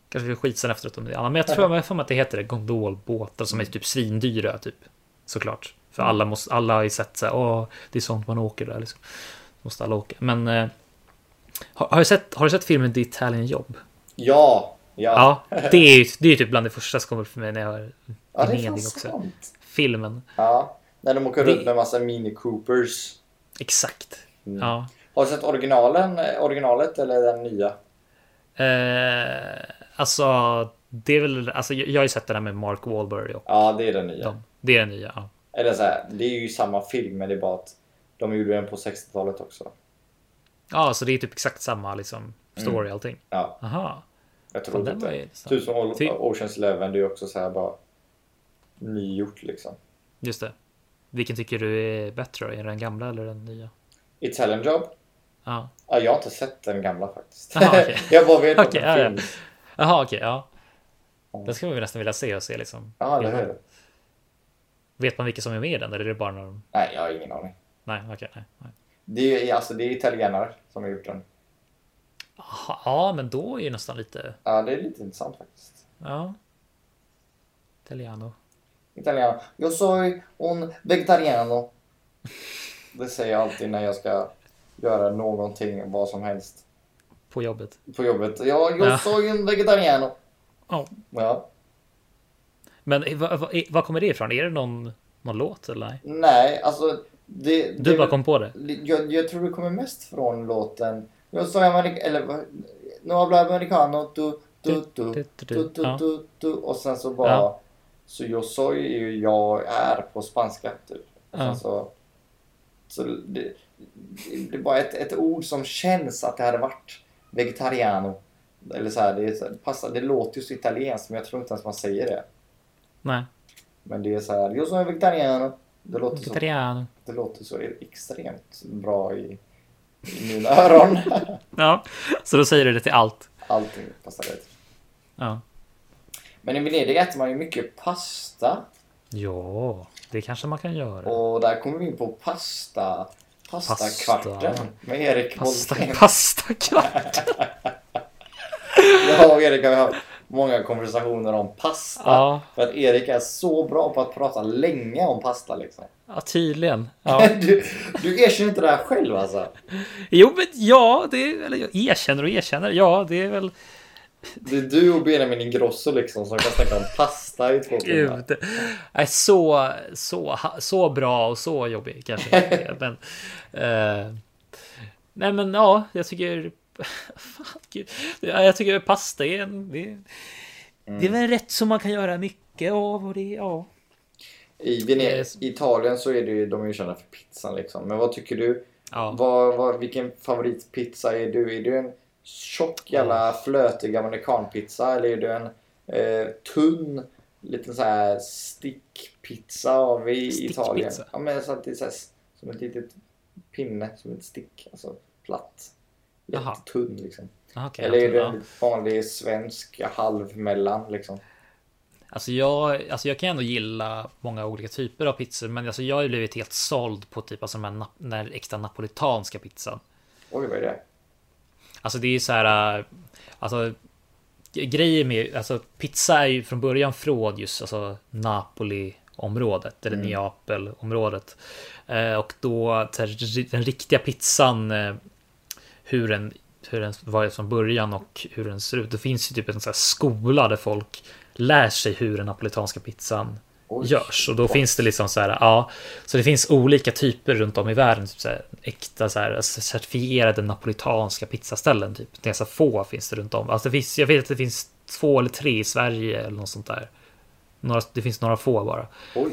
B: Kanske vi skit sen efteråt om det. Ja, men jag tror jag har för mig att det heter det, gondolbåtar som är typ svindyra, typ. Såklart. För alla, måste, alla har ju sett så här, åh, det är sånt man åker där liksom. Måste alla åka. Men eh, har, har, du sett, har du sett filmen The Italian Job?
A: Ja, ja.
B: Ja, det är ju det är ju typ bland det första som kommer för mig när jag hör
A: Ja, det är
B: Venedig
A: fan
B: också.
A: sant.
B: Filmen,
A: Ja, när de åker
B: Det-
A: runt med massa Mini Coopers.
B: exakt.
A: Mm.
B: Ja.
A: Har du sett originalen, eh, originalet eller den nya?
B: Eh, alltså, det är väl, alltså, jag, jag har ju sett det där med Mark Wahlberg och
A: Ja, det är den nya.
B: dem. Det är den nya. Ja.
A: Eller så här, det är ju samma film men det är bara att de gjorde den på 60-talet också.
B: ja, så det är typ exakt samma
A: Mm.
B: liksom, story och allting.
A: Ja,
B: Aha.
A: jag
B: Fan,
A: tror
B: den var
A: inte.
B: ju
A: Typ som
B: Ty-
A: Oceans Oceans Eleven, det är ju också så här bara nygjort liksom.
B: Just det. Vilken tycker du är bättre? då? Är det den gamla eller den nya?
A: Italian Job?
B: Ja.
A: Ja, jag har inte sett den gamla faktiskt.
B: Aha, Ah, okej.
A: <laughs> jag bara vet att
B: Okej,
A: den
B: ja, ja.
A: finns.
B: Jaha, okej. ja. Den skulle man väl nästan vilja se och se liksom.
A: Ja, eller hur?
B: Vet man vilka som är med i den eller är det bara när de...
A: Nej, jag har ingen aning.
B: Nej, okej. nej, nej.
A: Det är, alltså, det är italienare som har gjort den.
B: Aha, ja, men då är ju nästan lite...
A: Ja, det är lite intressant faktiskt.
B: Ja. Italiano.
A: Italienare. Jag soy un vegetariano. Det säger jag alltid när jag ska göra någonting, vad som helst.
B: På jobbet.
A: På jobbet. Ja, jag
B: Ja.
A: soy un vegetariano.
B: Ja.
A: Ja.
B: Men eh, i- vad vad- i- vad kommer det ifrån? Är det någon, någon låt eller? Nej?
A: Nej, alltså... Det, det,
B: Du bara kom på det?
A: jag, jag tror det kommer mest från låten... Jag soy americano... Eller... vad- No hablo americano. Du, du, du.
B: Du,
A: Du,
B: du, du.
A: du,
B: Ja.
A: du, du. Och sen så bara...
B: Ja.
A: Så yo soy är ju jag är på spanska typ. Och sen
B: Ja.
A: så... Så det, det är bara ett, ett ord som känns att det hade varit vegetariano. Eller så här, det, är, så- det passar, det låter ju så italienskt men jag tror inte ens man säger det.
B: Nej.
A: Men det är så här, yo soy vegetariano. Det låter, så,
B: Italiano.
A: det låter så extremt bra i, i mina öron.
B: <laughs> Ja, så då säger du det till allt.
A: Allting passar rätt.
B: Ja.
A: Men i Venedig äter man ju mycket pasta.
B: Ja, det kanske man kan göra.
A: Och där kommer vi in på pasta. Pastakvarten
B: Pasta.
A: med Erik
B: Pasta,
A: Moltén. <laughs>
B: <laughs> pasta kvart.
A: Jag och Erik har haft många konversationer om pasta.
B: Ja.
A: För att Erik är så bra på att prata länge om pasta liksom.
B: Ja, tydligen. Ja.
A: <laughs> Du, du erkänner inte det här själv alltså.
B: Jo, men ja, det är, eller jag erkänner och erkänner. Ja, det är väl
A: Det är du och Benjamin Ingrosso liksom som kan snacka om pasta i två timmar.
B: gud. Nej, så, så, så bra och så jobbig kanske. men, eh, nej, men ja, jag tycker. <laughs> Fan, gud. Ja, jag tycker pasta är en. Det, det
A: Mm.
B: är väl en rätt som man kan göra mycket av och det. Ja.
A: I Vene-
B: Yes.
A: i Italien så är det, ju- de är ju kända för pizzan liksom. Men vad tycker du?
B: ja.
A: Vad, vad, vilken favoritpizza är du? Är du en tjock jävla flötig amerikanpizza eller är du en eh, tunn liten så här stickpizza av i
B: Stickpizza?
A: Italien? Ja men så att det är så här, s- som ett litet pinne, som ett stick, alltså platt.
B: Jaha.
A: Jättetunn liksom.
B: Aha, okej,
A: eller är
B: jag tror-
A: du en
B: ja.
A: vanlig svensk halv mellan liksom?
B: Alltså jag, alltså jag kan ändå gilla många olika typer av pizzor, men alltså jag har ju blivit helt såld på typ alltså de här nap- den här äkta napolitanska pizzan.
A: Oj vad är det?
B: Alltså det är ju så här, äh, alltså grejer med, alltså pizza är ju från början från just alltså, Napoli-området, eller Neapel-området. Eh, och då så här, den riktiga pizzan, eh, hur den, hur den var från början och hur den ser ut. Det finns ju typ en sån här skola där folk lär sig hur den napolitanska pizzan
A: Oj.
B: görs. Och då finns det liksom så här, ja, så det finns olika typer runt om i världen. Typ så här, äkta så här, alltså certifierade napolitanska pizzaställen. Typ. Det är så få finns det runt om. Alltså det finns, jag vet att det finns två eller tre i Sverige eller något sånt där. Några, det finns några få bara.
A: Oj.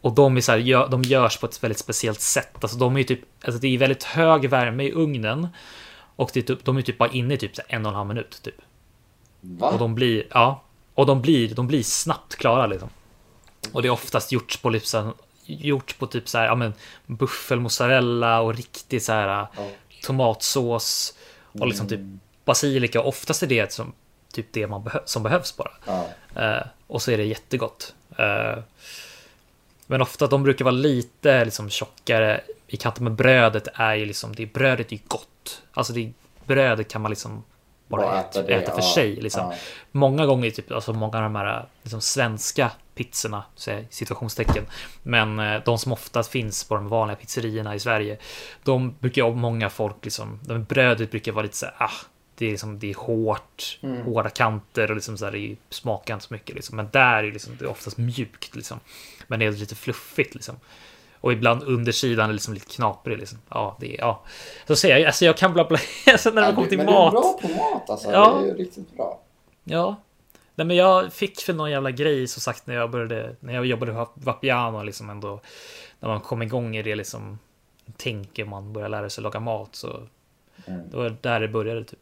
B: Och de, är så här, gör, de görs på ett väldigt speciellt sätt. Alltså de är ju typ, alltså det är väldigt hög värme i ugnen. Och det är typ, de är typ bara inne i typ så här en och en halv minut. Typ. Och
A: Va?
B: de blir, ja, och de blir, de blir snabbt klara liksom. Och det är oftast gjort på typ så här- gjort på typ så här, ja men buffelmozzarella och riktig så här
A: Ja.
B: tomatsås och liksom typ
A: Mm.
B: basilika. Oftast är det som typ det man behö- som behövs bara.
A: Ja.
B: Eh, och så är det jättegott. Eh, men ofta de brukar vara lite liksom tjockare i kanten, men brödet är ju liksom, det, brödet är ju gott. Alltså det, brödet kan man liksom bara,
A: Bara
B: äta,
A: äta det,
B: äta för
A: ja,
B: sig. Liksom.
A: ja.
B: Många gånger, typ, alltså många av de här liksom, svenska pizzorna, så här, situationstecken. Men eh, de som oftast finns på de vanliga pizzerierna i Sverige, de brukar ju ha många folk, liksom, de, brödet brukar vara lite så här, ah, det är, liksom, det är hårt,
A: Mm.
B: hårda kanter och liksom så här, det smakar inte så mycket. Liksom. Men där är det liksom, det är oftast mjukt, liksom. men det är lite fluffigt. Liksom. Och ibland undersidan är liksom lite knaprig. Liksom. Ja, det är, ja. Så ser jag, alltså jag kan bla <laughs> bla. Sen när det kommer till
A: men
B: mat.
A: du är bra på mat alltså.
B: Ja.
A: Det är ju riktigt bra.
B: Ja. Nej, men jag fick väl någon jävla grej som sagt när jag började, när jag jobbade på Vapiano liksom ändå. När man kom igång i det liksom, tänker man börjar lära sig laga mat så.
A: Mm.
B: Det var där det började typ.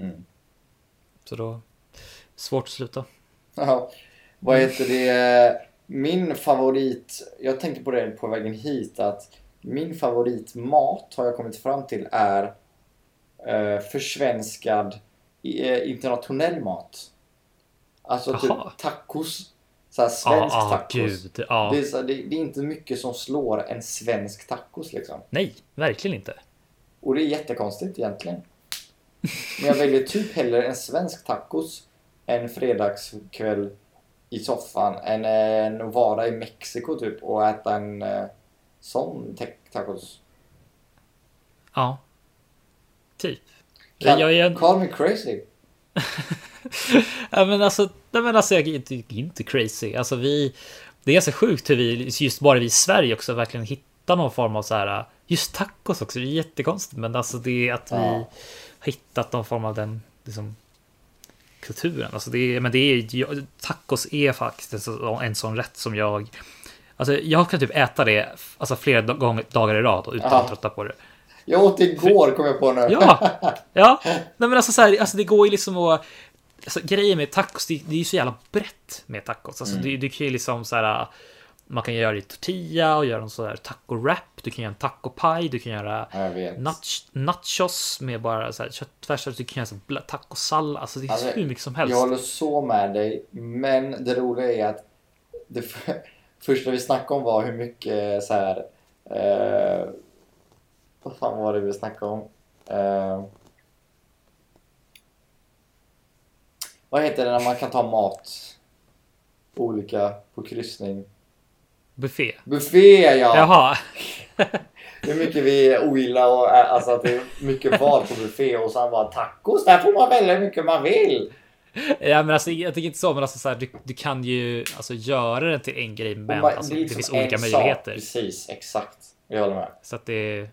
A: Mm.
B: Så då, svårt att sluta.
A: Ja. Vad heter det? Min favorit, jag tänkte på det på vägen hit att min favoritmat har jag kommit fram till är eh, försvenskad eh, internationell mat. Alltså
B: Jaha.
A: typ tacos. Så här svensk
B: ah,
A: tacos.
B: gud. Ja.
A: Det, är så, det, det är inte mycket som slår en svensk tacos liksom.
B: Nej, verkligen inte.
A: Och det är jättekonstigt egentligen. Men jag väljer typ hellre en svensk tacos en fredagskväll i soffan än en att vara i Mexiko typ och äta en eh, sån te- tacos.
B: Ja. Typ.
A: Kall-
B: jag är en-
A: Call me crazy.
B: Ja, men alltså, nej, men alltså jag är inte, inte crazy. Alltså, vi, det är ganska sjukt hur vi, just bara vi i Sverige också, verkligen hittar någon form av så här, just tacos också, det är jättekonstigt, men alltså det är att vi
A: Ja.
B: har hittat någon form av den liksom, kulturen. Alltså det, är- men det är, jag, tacos är faktiskt en så- en sån rätt som jag, alltså jag kan typ äta det alltså, flera dag- gånger- dagar i rad och utan
A: Ja.
B: att trötta på det.
A: Jag åt igår kom jag på nu.
B: Ja, ja. Nej, men alltså, så här, alltså det går ju liksom att... Alltså, grejen med tacos, det, det är ju så jävla brett med tacos. Alltså,
A: Mm.
B: du, du kan ju liksom så här... Man kan göra det i tortilla och göra en sån här taco-wrap. Du kan göra en taco-pie. Du kan göra
A: Jag vet.
B: nach- nachos med bara så här köttfärs. Alltså Du kan göra så här bla- tacosallad. Alltså det är
A: Alltså,
B: hur mycket som helst.
A: Jag håller så med dig, men det roliga är att det <laughs> f- första vi snackade om var hur mycket så här. Eh, vad fan var det vi snackade om? Eh, vad heter det när man kan ta mat? Olika på kryssning.
B: Buffé.
A: Buffé ja!
B: Jaha.
A: Hur mycket vi ogillar och eh, alltså att det är mycket val på buffé och sen bara tacos, där får man välja hur mycket man vill.
B: Ja, men alltså, jag tycker inte så, men alltså, så här, du, du kan ju alltså, göra den till en grej, men
A: Och man-
B: alltså,
A: är
B: det,
A: liksom
B: finns
A: en
B: olika
A: sak.
B: möjligheter.
A: Precis, exakt. Jag håller med.
B: Så att det...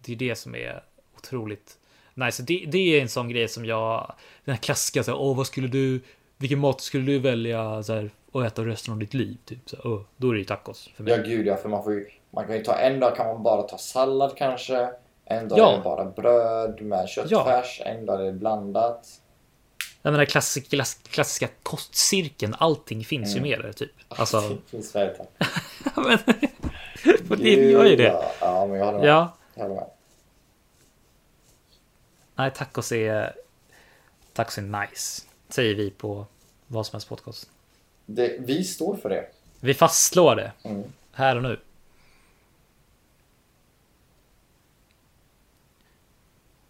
B: Det är det som är otroligt nice. Så Det, det är en sån grej som jag... Den här klassiska så här, åh vad skulle du... Vilken mat skulle du välja så här, att äta resten av ditt liv? Typ, så här, åh, då är det ju tacos för mig.
A: Ja gud ja, för man får ju, man kan ju ta en dag kan man bara ta sallad kanske. En dag
B: Ja.
A: är det bara bröd med köttfärs, en dag är det blandat. <laughs>
B: Jag menar klassisk, klass, klassiska kostcirkeln, allting finns
A: Mm.
B: ju med där typ.
A: Ah,
B: Alltså,
A: Det finns verkligen.
B: <laughs> ja, men, <laughs> på det gör ju
A: Gud,
B: det.
A: Ja, ja men jag håller med.
B: Ja,
A: Jag håller med.
B: nej tacos är... Tacos är nice. Säger vi på vad som helst podcast.
A: Det, vi står för det.
B: Vi fastslår det.
A: Mm.
B: Här och nu.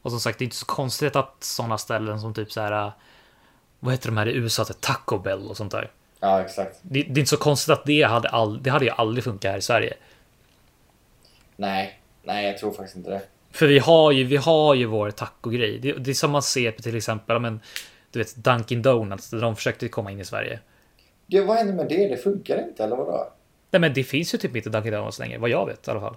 B: Och som sagt, det är inte så konstigt att sådana ställen som typ så här vad heter de här i USA, till Taco Bell och sånt där.
A: Ja, exakt.
B: Det, det är inte så konstigt att det hade, all, det hade ju aldrig funkat här i Sverige.
A: Nej, nej jag tror faktiskt inte det.
B: För vi har ju, vi har ju vår taco-grej. Det, det är som man ser på till exempel, ja, men, du vet Dunkin Donuts, där de försökte komma in i Sverige.
A: Gud, vad hände med det? Det funkar inte, eller vadå?
B: Nej men det finns ju typ inte Dunkin Donuts längre, vad jag vet i alla fall.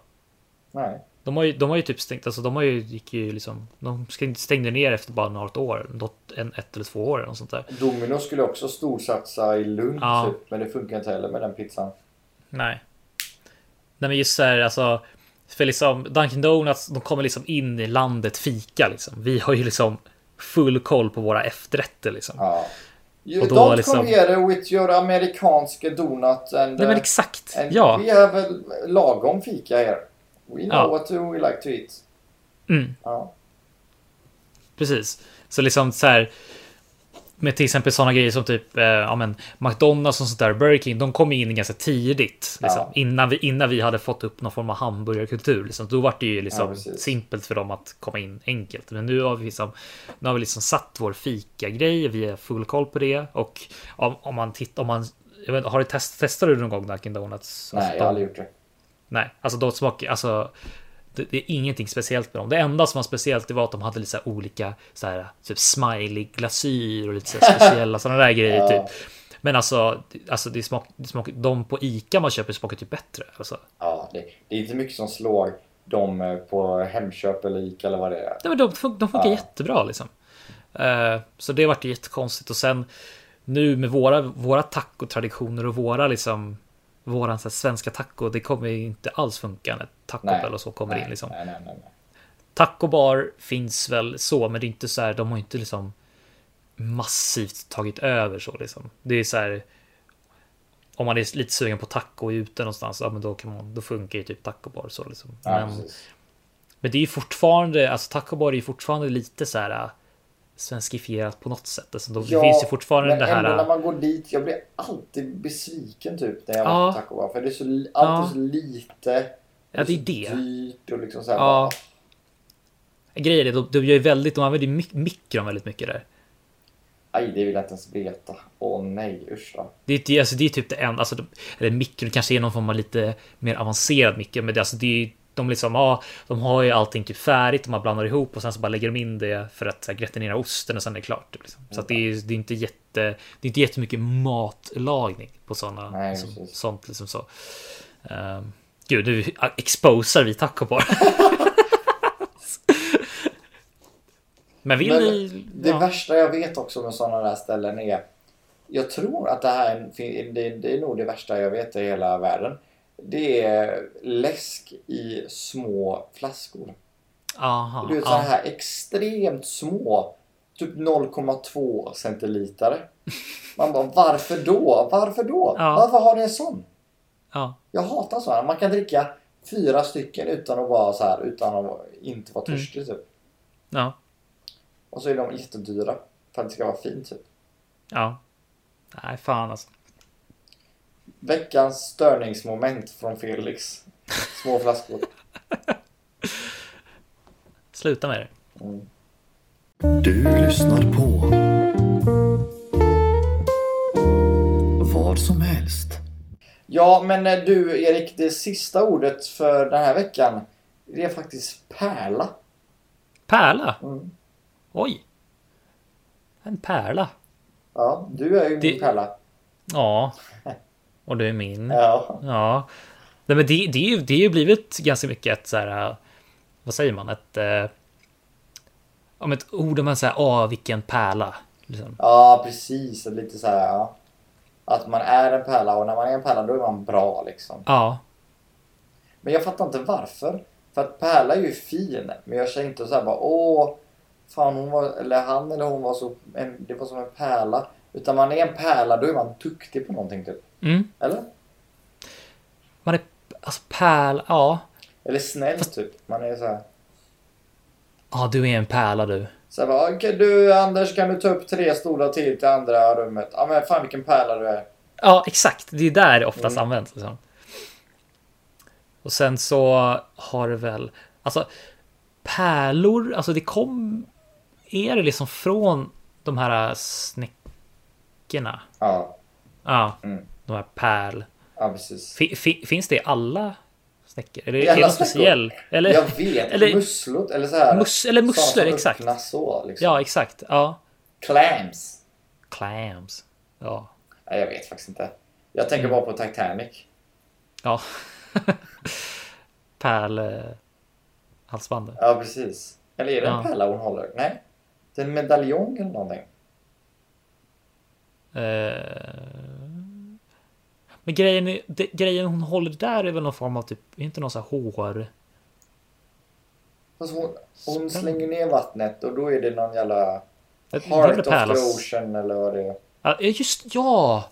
A: Nej.
B: De har ju, de har ju typ stängt, alltså de har ju, gick ju liksom, de stängde- stängde ner efter bara något år, något, en, ett eller två år eller något sånt där.
A: Domino skulle också storsatsa i Lund,
B: Ja.
A: typ, men det funkar inte heller med den pizzan.
B: Nej. Nej men just så här alltså. För liksom Dunkin Donuts, de kommer liksom in i landet fika liksom. Vi har ju liksom full koll på våra efterrätter liksom.
A: Ja. You
B: Och då
A: don't
B: liksom-
A: come here with your amerikanska donut and,
B: Nej men
A: uh,
B: exakt,
A: and
B: ja.
A: we have a lagom fika här. We know
B: Ja.
A: what we like to eat.
B: Mm,
A: Ja.
B: precis. Så liksom så här. Med till exempel sådana grejer som typ eh, ja, men McDonalds och sånt där, Burger King, de kom in ganska tidigt. Liksom,
A: Ja.
B: innan, vi, innan vi hade fått upp någon form av hamburgarkultur. Liksom. Då var det ju
A: Ja,
B: liksom
A: precis.
B: simpelt för dem att komma in enkelt. Men nu har vi liksom, nu har vi liksom satt vår fika-grej, vi har full koll på det. Och om, om man tittar, om man, jag vet, inte, har du test, testat du någon gång Dunkin Donuts?
A: Nej,
B: Alltså,
A: jag har
B: de-
A: aldrig gjort det.
B: Nej, alltså de smakar, alltså det, det är ingenting speciellt med dem. Det enda som var speciellt det var att de hade lite så här olika så här, typ smiley glasyr och lite så
A: <laughs>
B: här speciella sådana där grejer
A: Ja.
B: typ. Men alltså, det- alltså det smak, det smak, de på Ica man köper smakar typ bättre. Alltså.
A: Ja, det, det är inte mycket som slår dem eh, på Hemköp eller Ica eller vad det är.
B: Nej, men de, fun- de funkar
A: Ja.
B: jättebra liksom. Eh, så det vart ju jättekonstigt och sen nu med våra, våra tacotraditioner och våra liksom våran så här, svenska taco, det kommer ju inte alls funka när taco
A: Nej,
B: Bell och så kommer
A: nej,
B: in liksom.
A: Nej, nej, nej. nej.
B: Taco bar finns väl så, men det är inte så här. De har inte liksom massivt tagit över så liksom. Det är så här. Om man är lite sugen på taco och är ute någonstans, ja, men då kan man. Då funkar ju typ taco bar så liksom.
A: Ja,
B: men,
A: precis.
B: men det är ju fortfarande alltså. Taco bar är ju fortfarande lite så här. äh, Svenskifierat på något sätt. Alltså, då, det finns ju fortfarande
A: men
B: det här.
A: ändå när
B: äh,
A: man går dit, jag blir alltid besviken typ när jag
B: Ja.
A: var på taco Bar, För det är så, li- allt är så lite.
B: Ja, det är
A: så
B: det.
A: Dyrt och liksom så här,
B: Ja.
A: bara,
B: Grejen är, de, de gör ju väldigt. De använder ju mik- mikron väldigt mycket där.
A: Aj, det vill jag inte ens veta. Åh nej, usch då.
B: Det är, inte- alltså, det är typ det enda, alltså, de- eller mikron kanske är någon form av lite mer avancerad mikro, men det, alltså, det är ju de liksom, ja, de har ju allting typ färdigt, de bara blandar ihop och sen så bara lägger de in det för att så här, gratinera osten och sen är det klart. Typ, liksom. Så att det, är, det, är inte jätte, det är inte jättemycket matlagning på sådana,
A: Nej,
B: som,
A: precis.
B: sånt liksom så. Ehm, gud, nu exposar vi taco bar. <laughs> men vill
A: Men
B: ni?
A: det
B: ja.
A: värsta jag vet också med sådana där ställen är... Jag tror att det här är, en fin- det, det är nog det värsta jag vet i hela världen. Det är läsk i små flaskor.
B: Aha,
A: Du vet
B: ja.
A: sådana här extremt små. Typ 0,2 centiliter. Man bara varför då? Varför då?
B: Ja.
A: Varför har ni en sån?
B: ja.
A: Jag hatar sådana. Man kan dricka fyra stycken utan att vara så här, utan att inte
B: Mm.
A: vara törstig typ.
B: ja.
A: Och så är de jättedyra. För att det ska vara fint typ.
B: Ja. Nej, fan alltså.
A: Veckans störningsmoment från Felix. Små flaskor.
B: Sluta med det.
A: Mm.
C: Du lyssnar på vad som helst.
A: Ja, men eh, du Erik, det sista ordet för den här veckan. Det är faktiskt pärla.
B: Pärla?
A: Mm.
B: Oj. En pärla.
A: Ja, du är ju
B: Det-
A: min pärla.
B: Ja. Och du är min.
A: Ja.
B: Ja. Nej, men det, det, är ju, det är ju blivit ganska mycket ett så här. äh, Vad säger man? Ett. Eh, om ett ord om man säger åh vilken pärla. Liksom.
A: ja, precis. Och Lite så här, ja. Att man är en pärla och när man är en pärla då är man bra liksom.
B: Ja.
A: Men jag fattar inte varför. För att pärla är ju fin. Men jag känner inte så här bara åh. Fan hon var, eller han eller hon var så, en, det var som en pärla. Utan man är en pärla då är man duktig på någonting typ.
B: Mm.
A: Eller?
B: Man är alltså pärla. Ja.
A: Eller snäll typ. Man är så här.
B: Ja, du är en pärla du.
A: Så här bara, okej du Anders kan du ta upp tre stolar till till andra rummet? Ja men fan vilken pärla du är.
B: Ja, exakt. Det är där det oftast
A: Mm.
B: används. Liksom. Och sen så har det väl... Alltså, pärlor, alltså det kom... Är det liksom från de här snick... flickorna.
A: Ja,
B: Ja,
A: Mm.
B: de här pärl.
A: ja precis.
B: Fi- fi- finns det i alla snäckor? Eller
A: I
B: är det
A: alla
B: någon speciell? Eller,
A: Jag vet,
B: eller-
A: musslor eller så här.
B: Mus- eller musslor,
A: sådana som
B: exakt.
A: öppnas Så, liksom.
B: Ja, exakt. Ja.
A: Clams.
B: Clams. Ja.
A: Nej, jag vet faktiskt inte. Jag tänker
B: Mm.
A: bara på Titanic.
B: Ja. <laughs> Pärl... eh, Halsbandet.
A: Ja, precis. Eller är det en
B: Ja.
A: pärla hon håller? Nej. Det är en medaljong eller någonting.
B: Eh, Men grejen, är- det, grejen hon håller där är väl någon form av typ, är inte någon sån här hår...
A: Fast hon, hon
B: Spännande.
A: slänger ner vattnet och då är det någon jävla
B: Jag- det är väl
A: Heart of
B: pärlas-
A: the Ocean eller vad det är. <laughs>
B: Ja, just ja!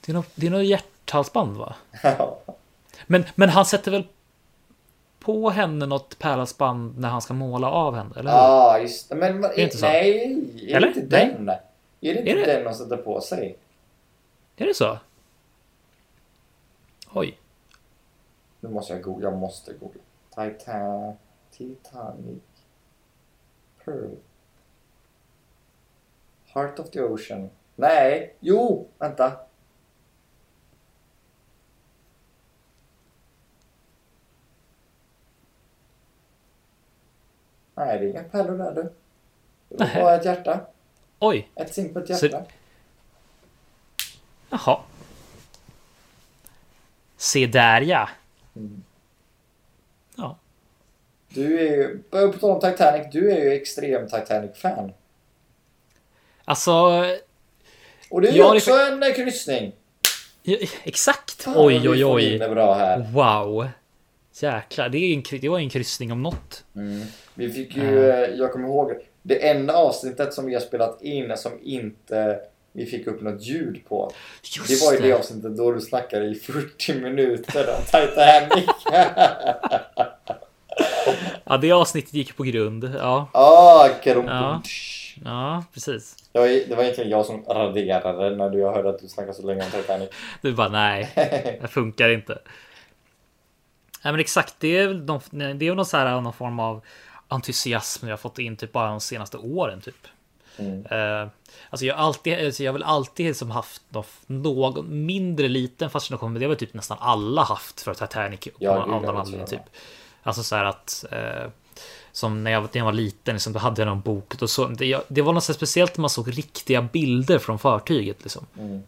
B: Det är något, det är något hjärthalsband va?
A: Ja.
B: Men, men han sätter väl på henne något pärlhalsband när han ska måla av henne, eller hur?
A: Ja, just det. Men vad-
B: Det är inte så.
A: nej, är
B: Eller?
A: det inte
B: Nej.
A: den? Är det inte
B: Är det?
A: den hon sätter på sig?
B: Är det så? Oj.
A: Nu måste jag googla. Jag måste googla. Titan... Titanic. Pearl. Heart of the Ocean. Nej, jo, vänta. Nej, det är inga pärlor där du. Det var
B: Nej.
A: bara ett hjärta.
B: Oj.
A: Ett simpelt
B: Så-
A: hjärta.
B: Jaha. Se där ja. Ja.
A: Du är ju, på tal om Titanic, du är ju extrem Titanic-fan.
B: Alltså,
A: Och det är ju
B: Ja, det-
A: också en eh, kryssning.
B: ja, exakt.
A: Fan,
B: Oj,
A: vi
B: oj,
A: får
B: oj.
A: in Det bra här.
B: Wow. Jäklar, det, är en, kry- det var en kryssning om något.
A: Vi fick ju, eh, jag kommer ihåg, det enda avsnittet som vi har spelat in som inte vi fick upp något ljud på.
B: Just
A: Det var ju det avsnittet då du snackade i 40 minuter om Titanic.
B: <laughs> Ja, det avsnittet gick på grund. Ja,
A: ah,
B: Ja.
A: ja.
B: ja precis.
A: det, var, ju- det var egentligen jag som raderade när jag hörde att du snackade så länge om Titanic.
B: Du bara nej,
A: <laughs>
B: det funkar inte. Nej men exakt, det är väl någon, det är väl någon, så här, någon form av entusiasm jag har fått in typ bara de senaste åren typ.
A: Mm.
B: Eh, alltså jag har alltid, alltså jag har väl alltid liksom haft nå- någon mindre liten fascination, men det har väl typ nästan alla haft för Titanic
A: Ja,
B: på
A: gud,
B: av
A: ja,
B: någon
A: det
B: anledning
A: tror
B: typ.
A: jag.
B: Alltså så här att eh, som när jag, när jag var liten, liksom, då hade jag någon bok. Då så, det, jag, det var något så här speciellt när man såg riktiga bilder från fartyget. Liksom.
A: Mm.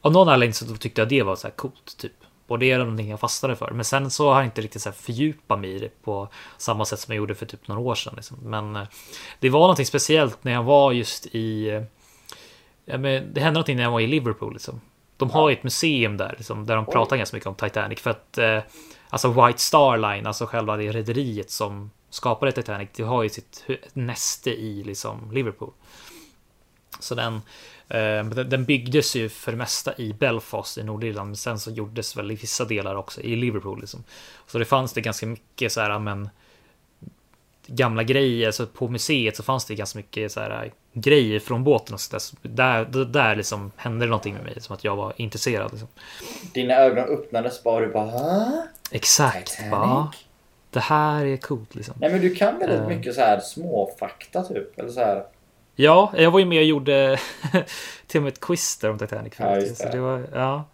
B: Av någon anledning så tyckte jag det var så här coolt. Typ. Och det är någonting jag fastnade för. Men sen så har jag inte riktigt så här fördjupat mig i det på samma sätt som jag gjorde för typ några år sedan. Liksom. Men eh, det var någonting speciellt när jag var just i... eh, Ja, men det hände någonting när jag var i Liverpool. Liksom. De har ju ett museum där, liksom, där de pratar ganska mycket om Titanic. För att eh, alltså White Star Line, alltså själva det rederiet som skapade Titanic, det har ju sitt hu- näste i liksom, Liverpool. Så den, eh, den- den byggdes ju för det mesta i Belfast i Nordirland, men sen så gjordes väl i vissa delar också i Liverpool. Liksom. Så det fanns det ganska mycket så här, men gamla grejer. Så på museet så fanns det ganska mycket så här, grejer från båten. Och så där, Så där, d- där liksom hände det någonting med mig som att jag var intresserad. Liksom.
A: Dina ögon öppnades bara och du bara "Hä?
B: Exakt.
A: Titanic?
B: Bara, det här är coolt liksom.
A: Nej men du kan väldigt mycket så här små fakta typ. Eller så här.
B: Ja, jag var ju med och gjorde <laughs> till och med ett quiz där om Titanic.
A: Ja,
B: förut.
A: just
B: Så
A: det.
B: det var, ja.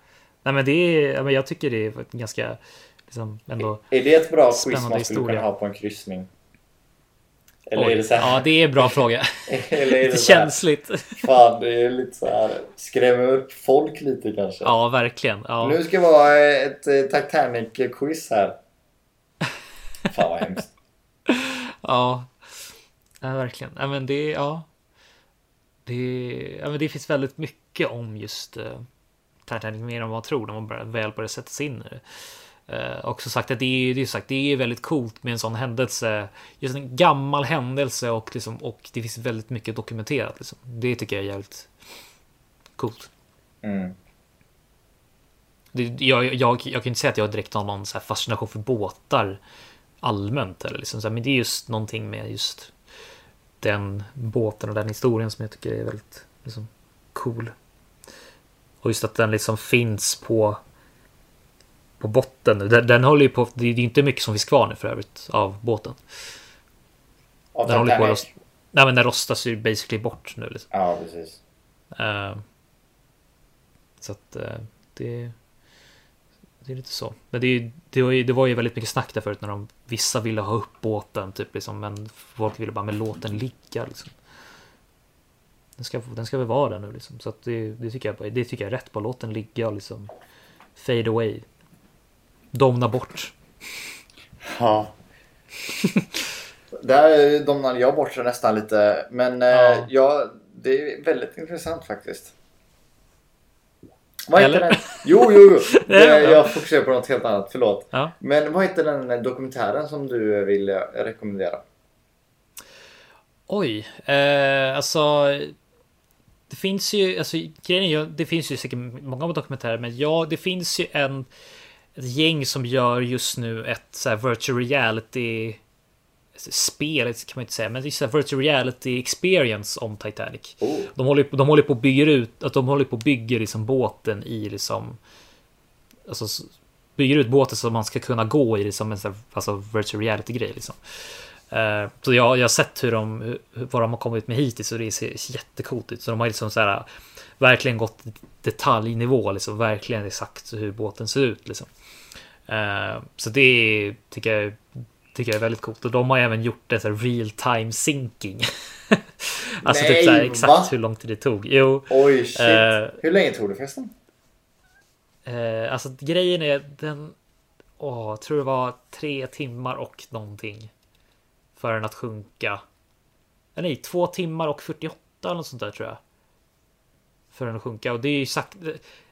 B: Nej, men det är, ja, men jag tycker det är ett ganska liksom, ändå.
A: Är det ett bra quiz
B: Spännande
A: man skulle
B: historia.
A: kunna ha på en kryssning? Eller
B: Oj,
A: är det så här?
B: Ja, det är en bra fråga.
A: <laughs> Eller är det
B: Lite
A: så här,
B: <laughs> känsligt.
A: fan, det är lite så här, skrämmer upp folk lite kanske.
B: Ja, verkligen. Ja.
A: Nu ska det vara ett eh, Titanic-quiz här. Fan vad hemskt.
B: Ja, ja verkligen. Ja, men det, ja. Det, ja, men det finns väldigt mycket om just uh, Titanic, mer än vad man tror när man börjar, väl börjar sätta sig in i det. Eh, och som sagt, att det är, det, är sagt, det är väldigt coolt med en sån händelse. Just en gammal händelse och, liksom, och det finns väldigt mycket dokumenterat. Liksom. Det tycker jag är jävligt coolt.
A: Mm.
B: Det, jag, jag, jag kan ju inte säga att jag direkt har någon så här fascination för båtar allmänt. Eller liksom så här, men det är just någonting med just den båten och den historien som jag tycker är väldigt liksom, cool. Och just att den liksom finns på på botten nu. Den, den håller ju på. Det är ju inte mycket som finns kvar nu för övrigt av båten.
A: Av
B: Den håller på att
A: Titanic.
B: rosta. Nej, men den rostas ju basically bort nu. Liksom.
A: Ja, precis.
B: Eh, Så att eh, det, det är lite så. Men det, är ju- det, var ju, det var ju väldigt mycket snack där förut när de, vissa ville ha upp båten, typ, liksom, men folk ville bara, men låt den ligga. Liksom. Den, ska, den ska väl vara där nu, liksom. så att det, det, tycker jag, det tycker jag är rätt på. Låt den ligga och liksom fade away. Domna bort.
A: Ja. <laughs> Där domnade jag bort det nästan lite. Men eh,
B: Ja.
A: ja. det är väldigt intressant faktiskt. Vad heter
B: Eller?
A: den? Jo, jo,
B: <laughs>
A: jo.
B: Nej,
A: Det,
B: ja.
A: jag fokuserar på något helt annat. Förlåt.
B: Ja.
A: Men vad heter den dokumentären som du vill eh, rekommendera?
B: Oj, eh, alltså. Det finns ju, alltså grejen är ju, det finns ju säkert många dokumentärer, men ja, det finns ju en. Ett gäng som gör just nu ett så här virtual reality. alltså, Spel kan man inte säga, men det är så här virtual reality experience om Titanic.
A: Oh.
B: De håller, de håller på och bygger ut, att de håller på och bygger liksom båten i liksom. Alltså s- bygger ut båten så man ska kunna gå i det som en sån här, alltså virtual reality grej liksom. Eh, Så jag, jag har sett hur de, hur- vad de har kommit med hittills och det ser jättecoolt ut. Så de har liksom så här, verkligen gått detaljnivå, liksom, verkligen exakt hur båten ser ut. Liksom. Eh, Så det är- tycker jag, tycker jag är väldigt coolt. Och de har även gjort en så här real time sinking. <laughs> alltså typ
A: Nej,
B: så här,
A: va?
B: exakt hur lång tid det tog. Jo,
A: Oj, shit.
B: Eh.
A: Hur länge tog det förresten?
B: eh, alltså grejen är den, åh, jag tror det var tre timmar och någonting. För den att sjunka. Eller nej, två timmar och 48 eller något sånt där tror jag. För den att sjunka och det är ju exakt,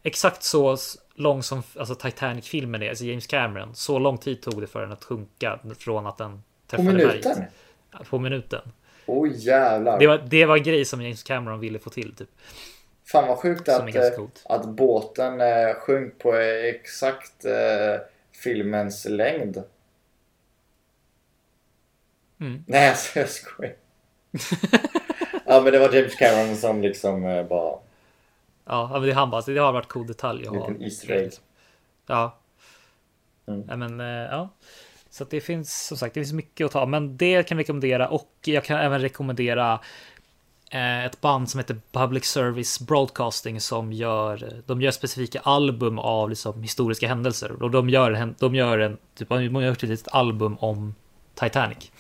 B: exakt så s- lång som alltså Titanic-filmen är, alltså James Cameron. Så lång tid tog det för den att sjunka från att den
A: På
B: träffade
A: minuten?
B: berget. Ja, På minuten.
A: Oj, jävlar.
B: Det var, det var en grej som James Cameron ville få till typ.
A: Fan vad sjukt
B: Som är
A: att,
B: ganska
A: eh,
B: coolt.
A: att båten eh, sjönk på eh, exakt eh, filmens längd.
B: Mm.
A: <laughs> Nej, alltså jag skojar. ja, men det var James Cameron som liksom eh, bara...
B: Ja, men det är han bara, så det har varit cool detalj att ha.
A: Liten Easter egg.
B: Ja.
A: Mm.
B: ja men eh, ja. Så att det finns som sagt, det finns mycket att ta, men det kan jag rekommendera och jag kan även rekommendera eh, ett band som heter Public Service Broadcasting som gör, de gör specifika album av liksom historiska händelser och de gör, en- de gör en, typ, de har gjort ett litet album om Titanic.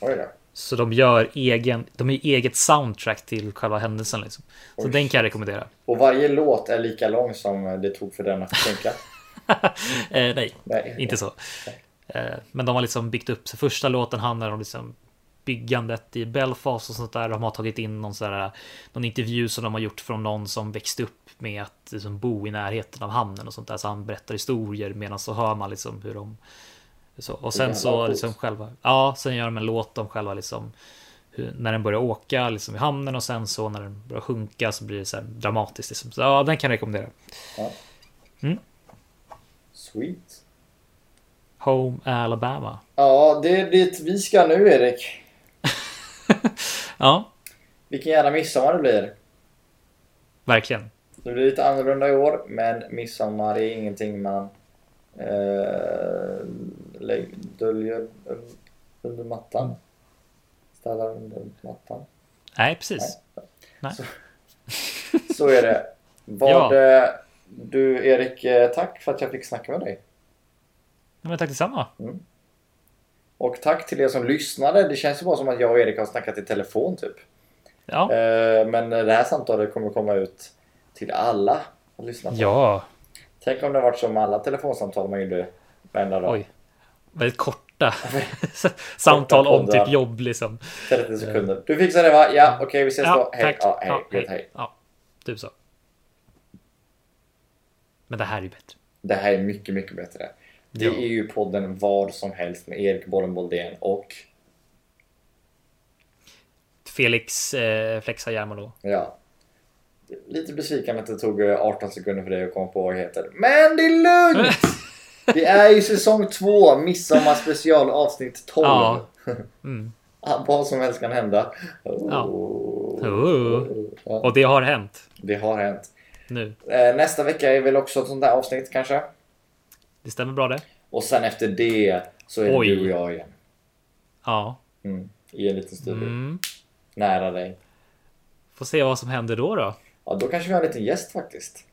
A: Oj då.
B: Så de gör egen, de är eget soundtrack till själva händelsen liksom. Så
A: Oj.
B: den kan jag rekommendera.
A: Och varje låt är lika lång som det tog för den att sjunka.
B: Eh, nej,
A: Nej.
B: inte så. Eh, men de har liksom byggt upp, så första låten handlar om liksom byggandet i Belfast och sånt där. De har tagit in någon, så här, någon intervju som de har gjort från någon som växte upp med att liksom bo i närheten av hamnen och sånt där. Så han berättar historier medan så hör man liksom hur de... Så. Och sen
A: jävla
B: så
A: coolt.
B: liksom själva... Ja, sen gör de en låt om själva liksom... Hur, när den börjar åka liksom i hamnen och sen så när den börjar sjunka så blir det så här dramatiskt. Liksom. Så, ja, den kan jag rekommendera.
A: Sweet.
B: Home Alabama.
A: Ja, det är dit vi ska nu, Erik.
B: Ja,
A: Vilken jävla midsommar det blir.
B: verkligen.
A: Det blir lite annorlunda i år, men midsommar är ingenting man eh, lägg- döljer un- under mattan. Städar under mattan.
B: Nej, precis.
A: Så är det. Vad, eh, Du Erik, eh, tack för att jag fick snacka med dig.
B: Ja, Men tack detsamma.
A: Och tack till er som lyssnade. Det känns ju bara som att jag och Erik har snackat i telefon typ.
B: Ja.
A: Eh, men det här samtalet kommer komma ut till alla att lyssna på.
B: Ja,
A: Tänk om det varit som alla telefonsamtal man gjorde varenda dag.
B: oj. Väldigt
A: <laughs>
B: korta <laughs> samtal om
A: poddar.
B: typ jobb liksom.
A: 30 sekunder. Du fixar det va? Ja, okej vi ses då.
B: Ja,
A: Hej.
B: tack.
A: Ja, hej.
B: Ja,
A: Vet, hej.
B: Ja, typ så. Men det här är ju bättre.
A: Det här är mycket, mycket bättre. Det
B: Ja.
A: är ju podden Vad som helst med Erik Bollen Boldén och
B: Felix eh, Flexa Järmalo.
A: ja. Lite besviken att det tog eh, 18 sekunder för dig att komma på vad jag heter. Men det är
B: <laughs>
A: lugnt! Det är ju säsong 2, midsommar special avsnitt 12. <laughs>
B: Ja. Mm.
A: Ah, Vad som helst kan hända.
B: Ja.
A: Oh.
B: Oh.
A: Ja,
B: Och det har hänt
A: det har hänt.
B: nu.
A: Eh, Nästa vecka är väl också ett sånt där avsnitt kanske.
B: Det stämmer bra det?
A: Och sen efter det så är det
B: Oj.
A: du och jag igen.
B: Ja.
A: Mm. I en liten studio.
B: Mm.
A: Nära dig.
B: Får se vad som händer då då.
A: Ja, då kanske vi har en liten gäst faktiskt.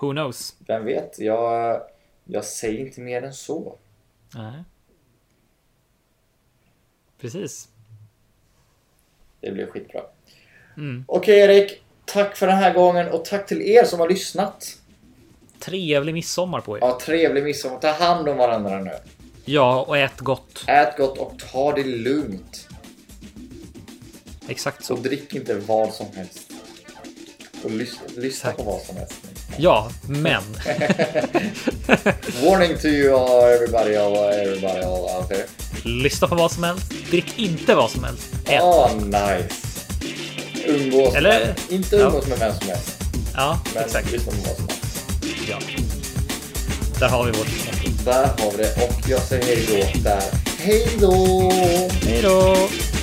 B: Who knows?
A: Vem vet? Jag, jag säger inte mer än så.
B: Nej. Precis.
A: Det blir skitbra.
B: Mm.
A: Okej Erik, tack för den här gången och tack till er som har lyssnat.
B: Trevlig midsommar på er.
A: Ja, trevlig midsommar. Ta hand om varandra nu.
B: Ja, och ät gott.
A: Ät gott och ta det lugnt.
B: Exakt
A: Så
B: så.
A: drick inte vad som helst. Och lyssna, lyssna
B: Tack.
A: på vad som helst.
B: Ja, men.
A: Warning to you all, everybody, all, everybody all out there.
B: Lyssna på vad som helst. Drick inte vad som helst. Ät.
A: Ah, nice. Umgås
B: Eller-
A: med, inte
B: Ja.
A: umgås med vem som helst.
B: Ja,
A: Men
B: exakt.
A: lyssna på vad som helst.
B: Ja. Där har vi vårt.
A: Där har vi det och jag säger hej då där. Hej då!
B: Hej då!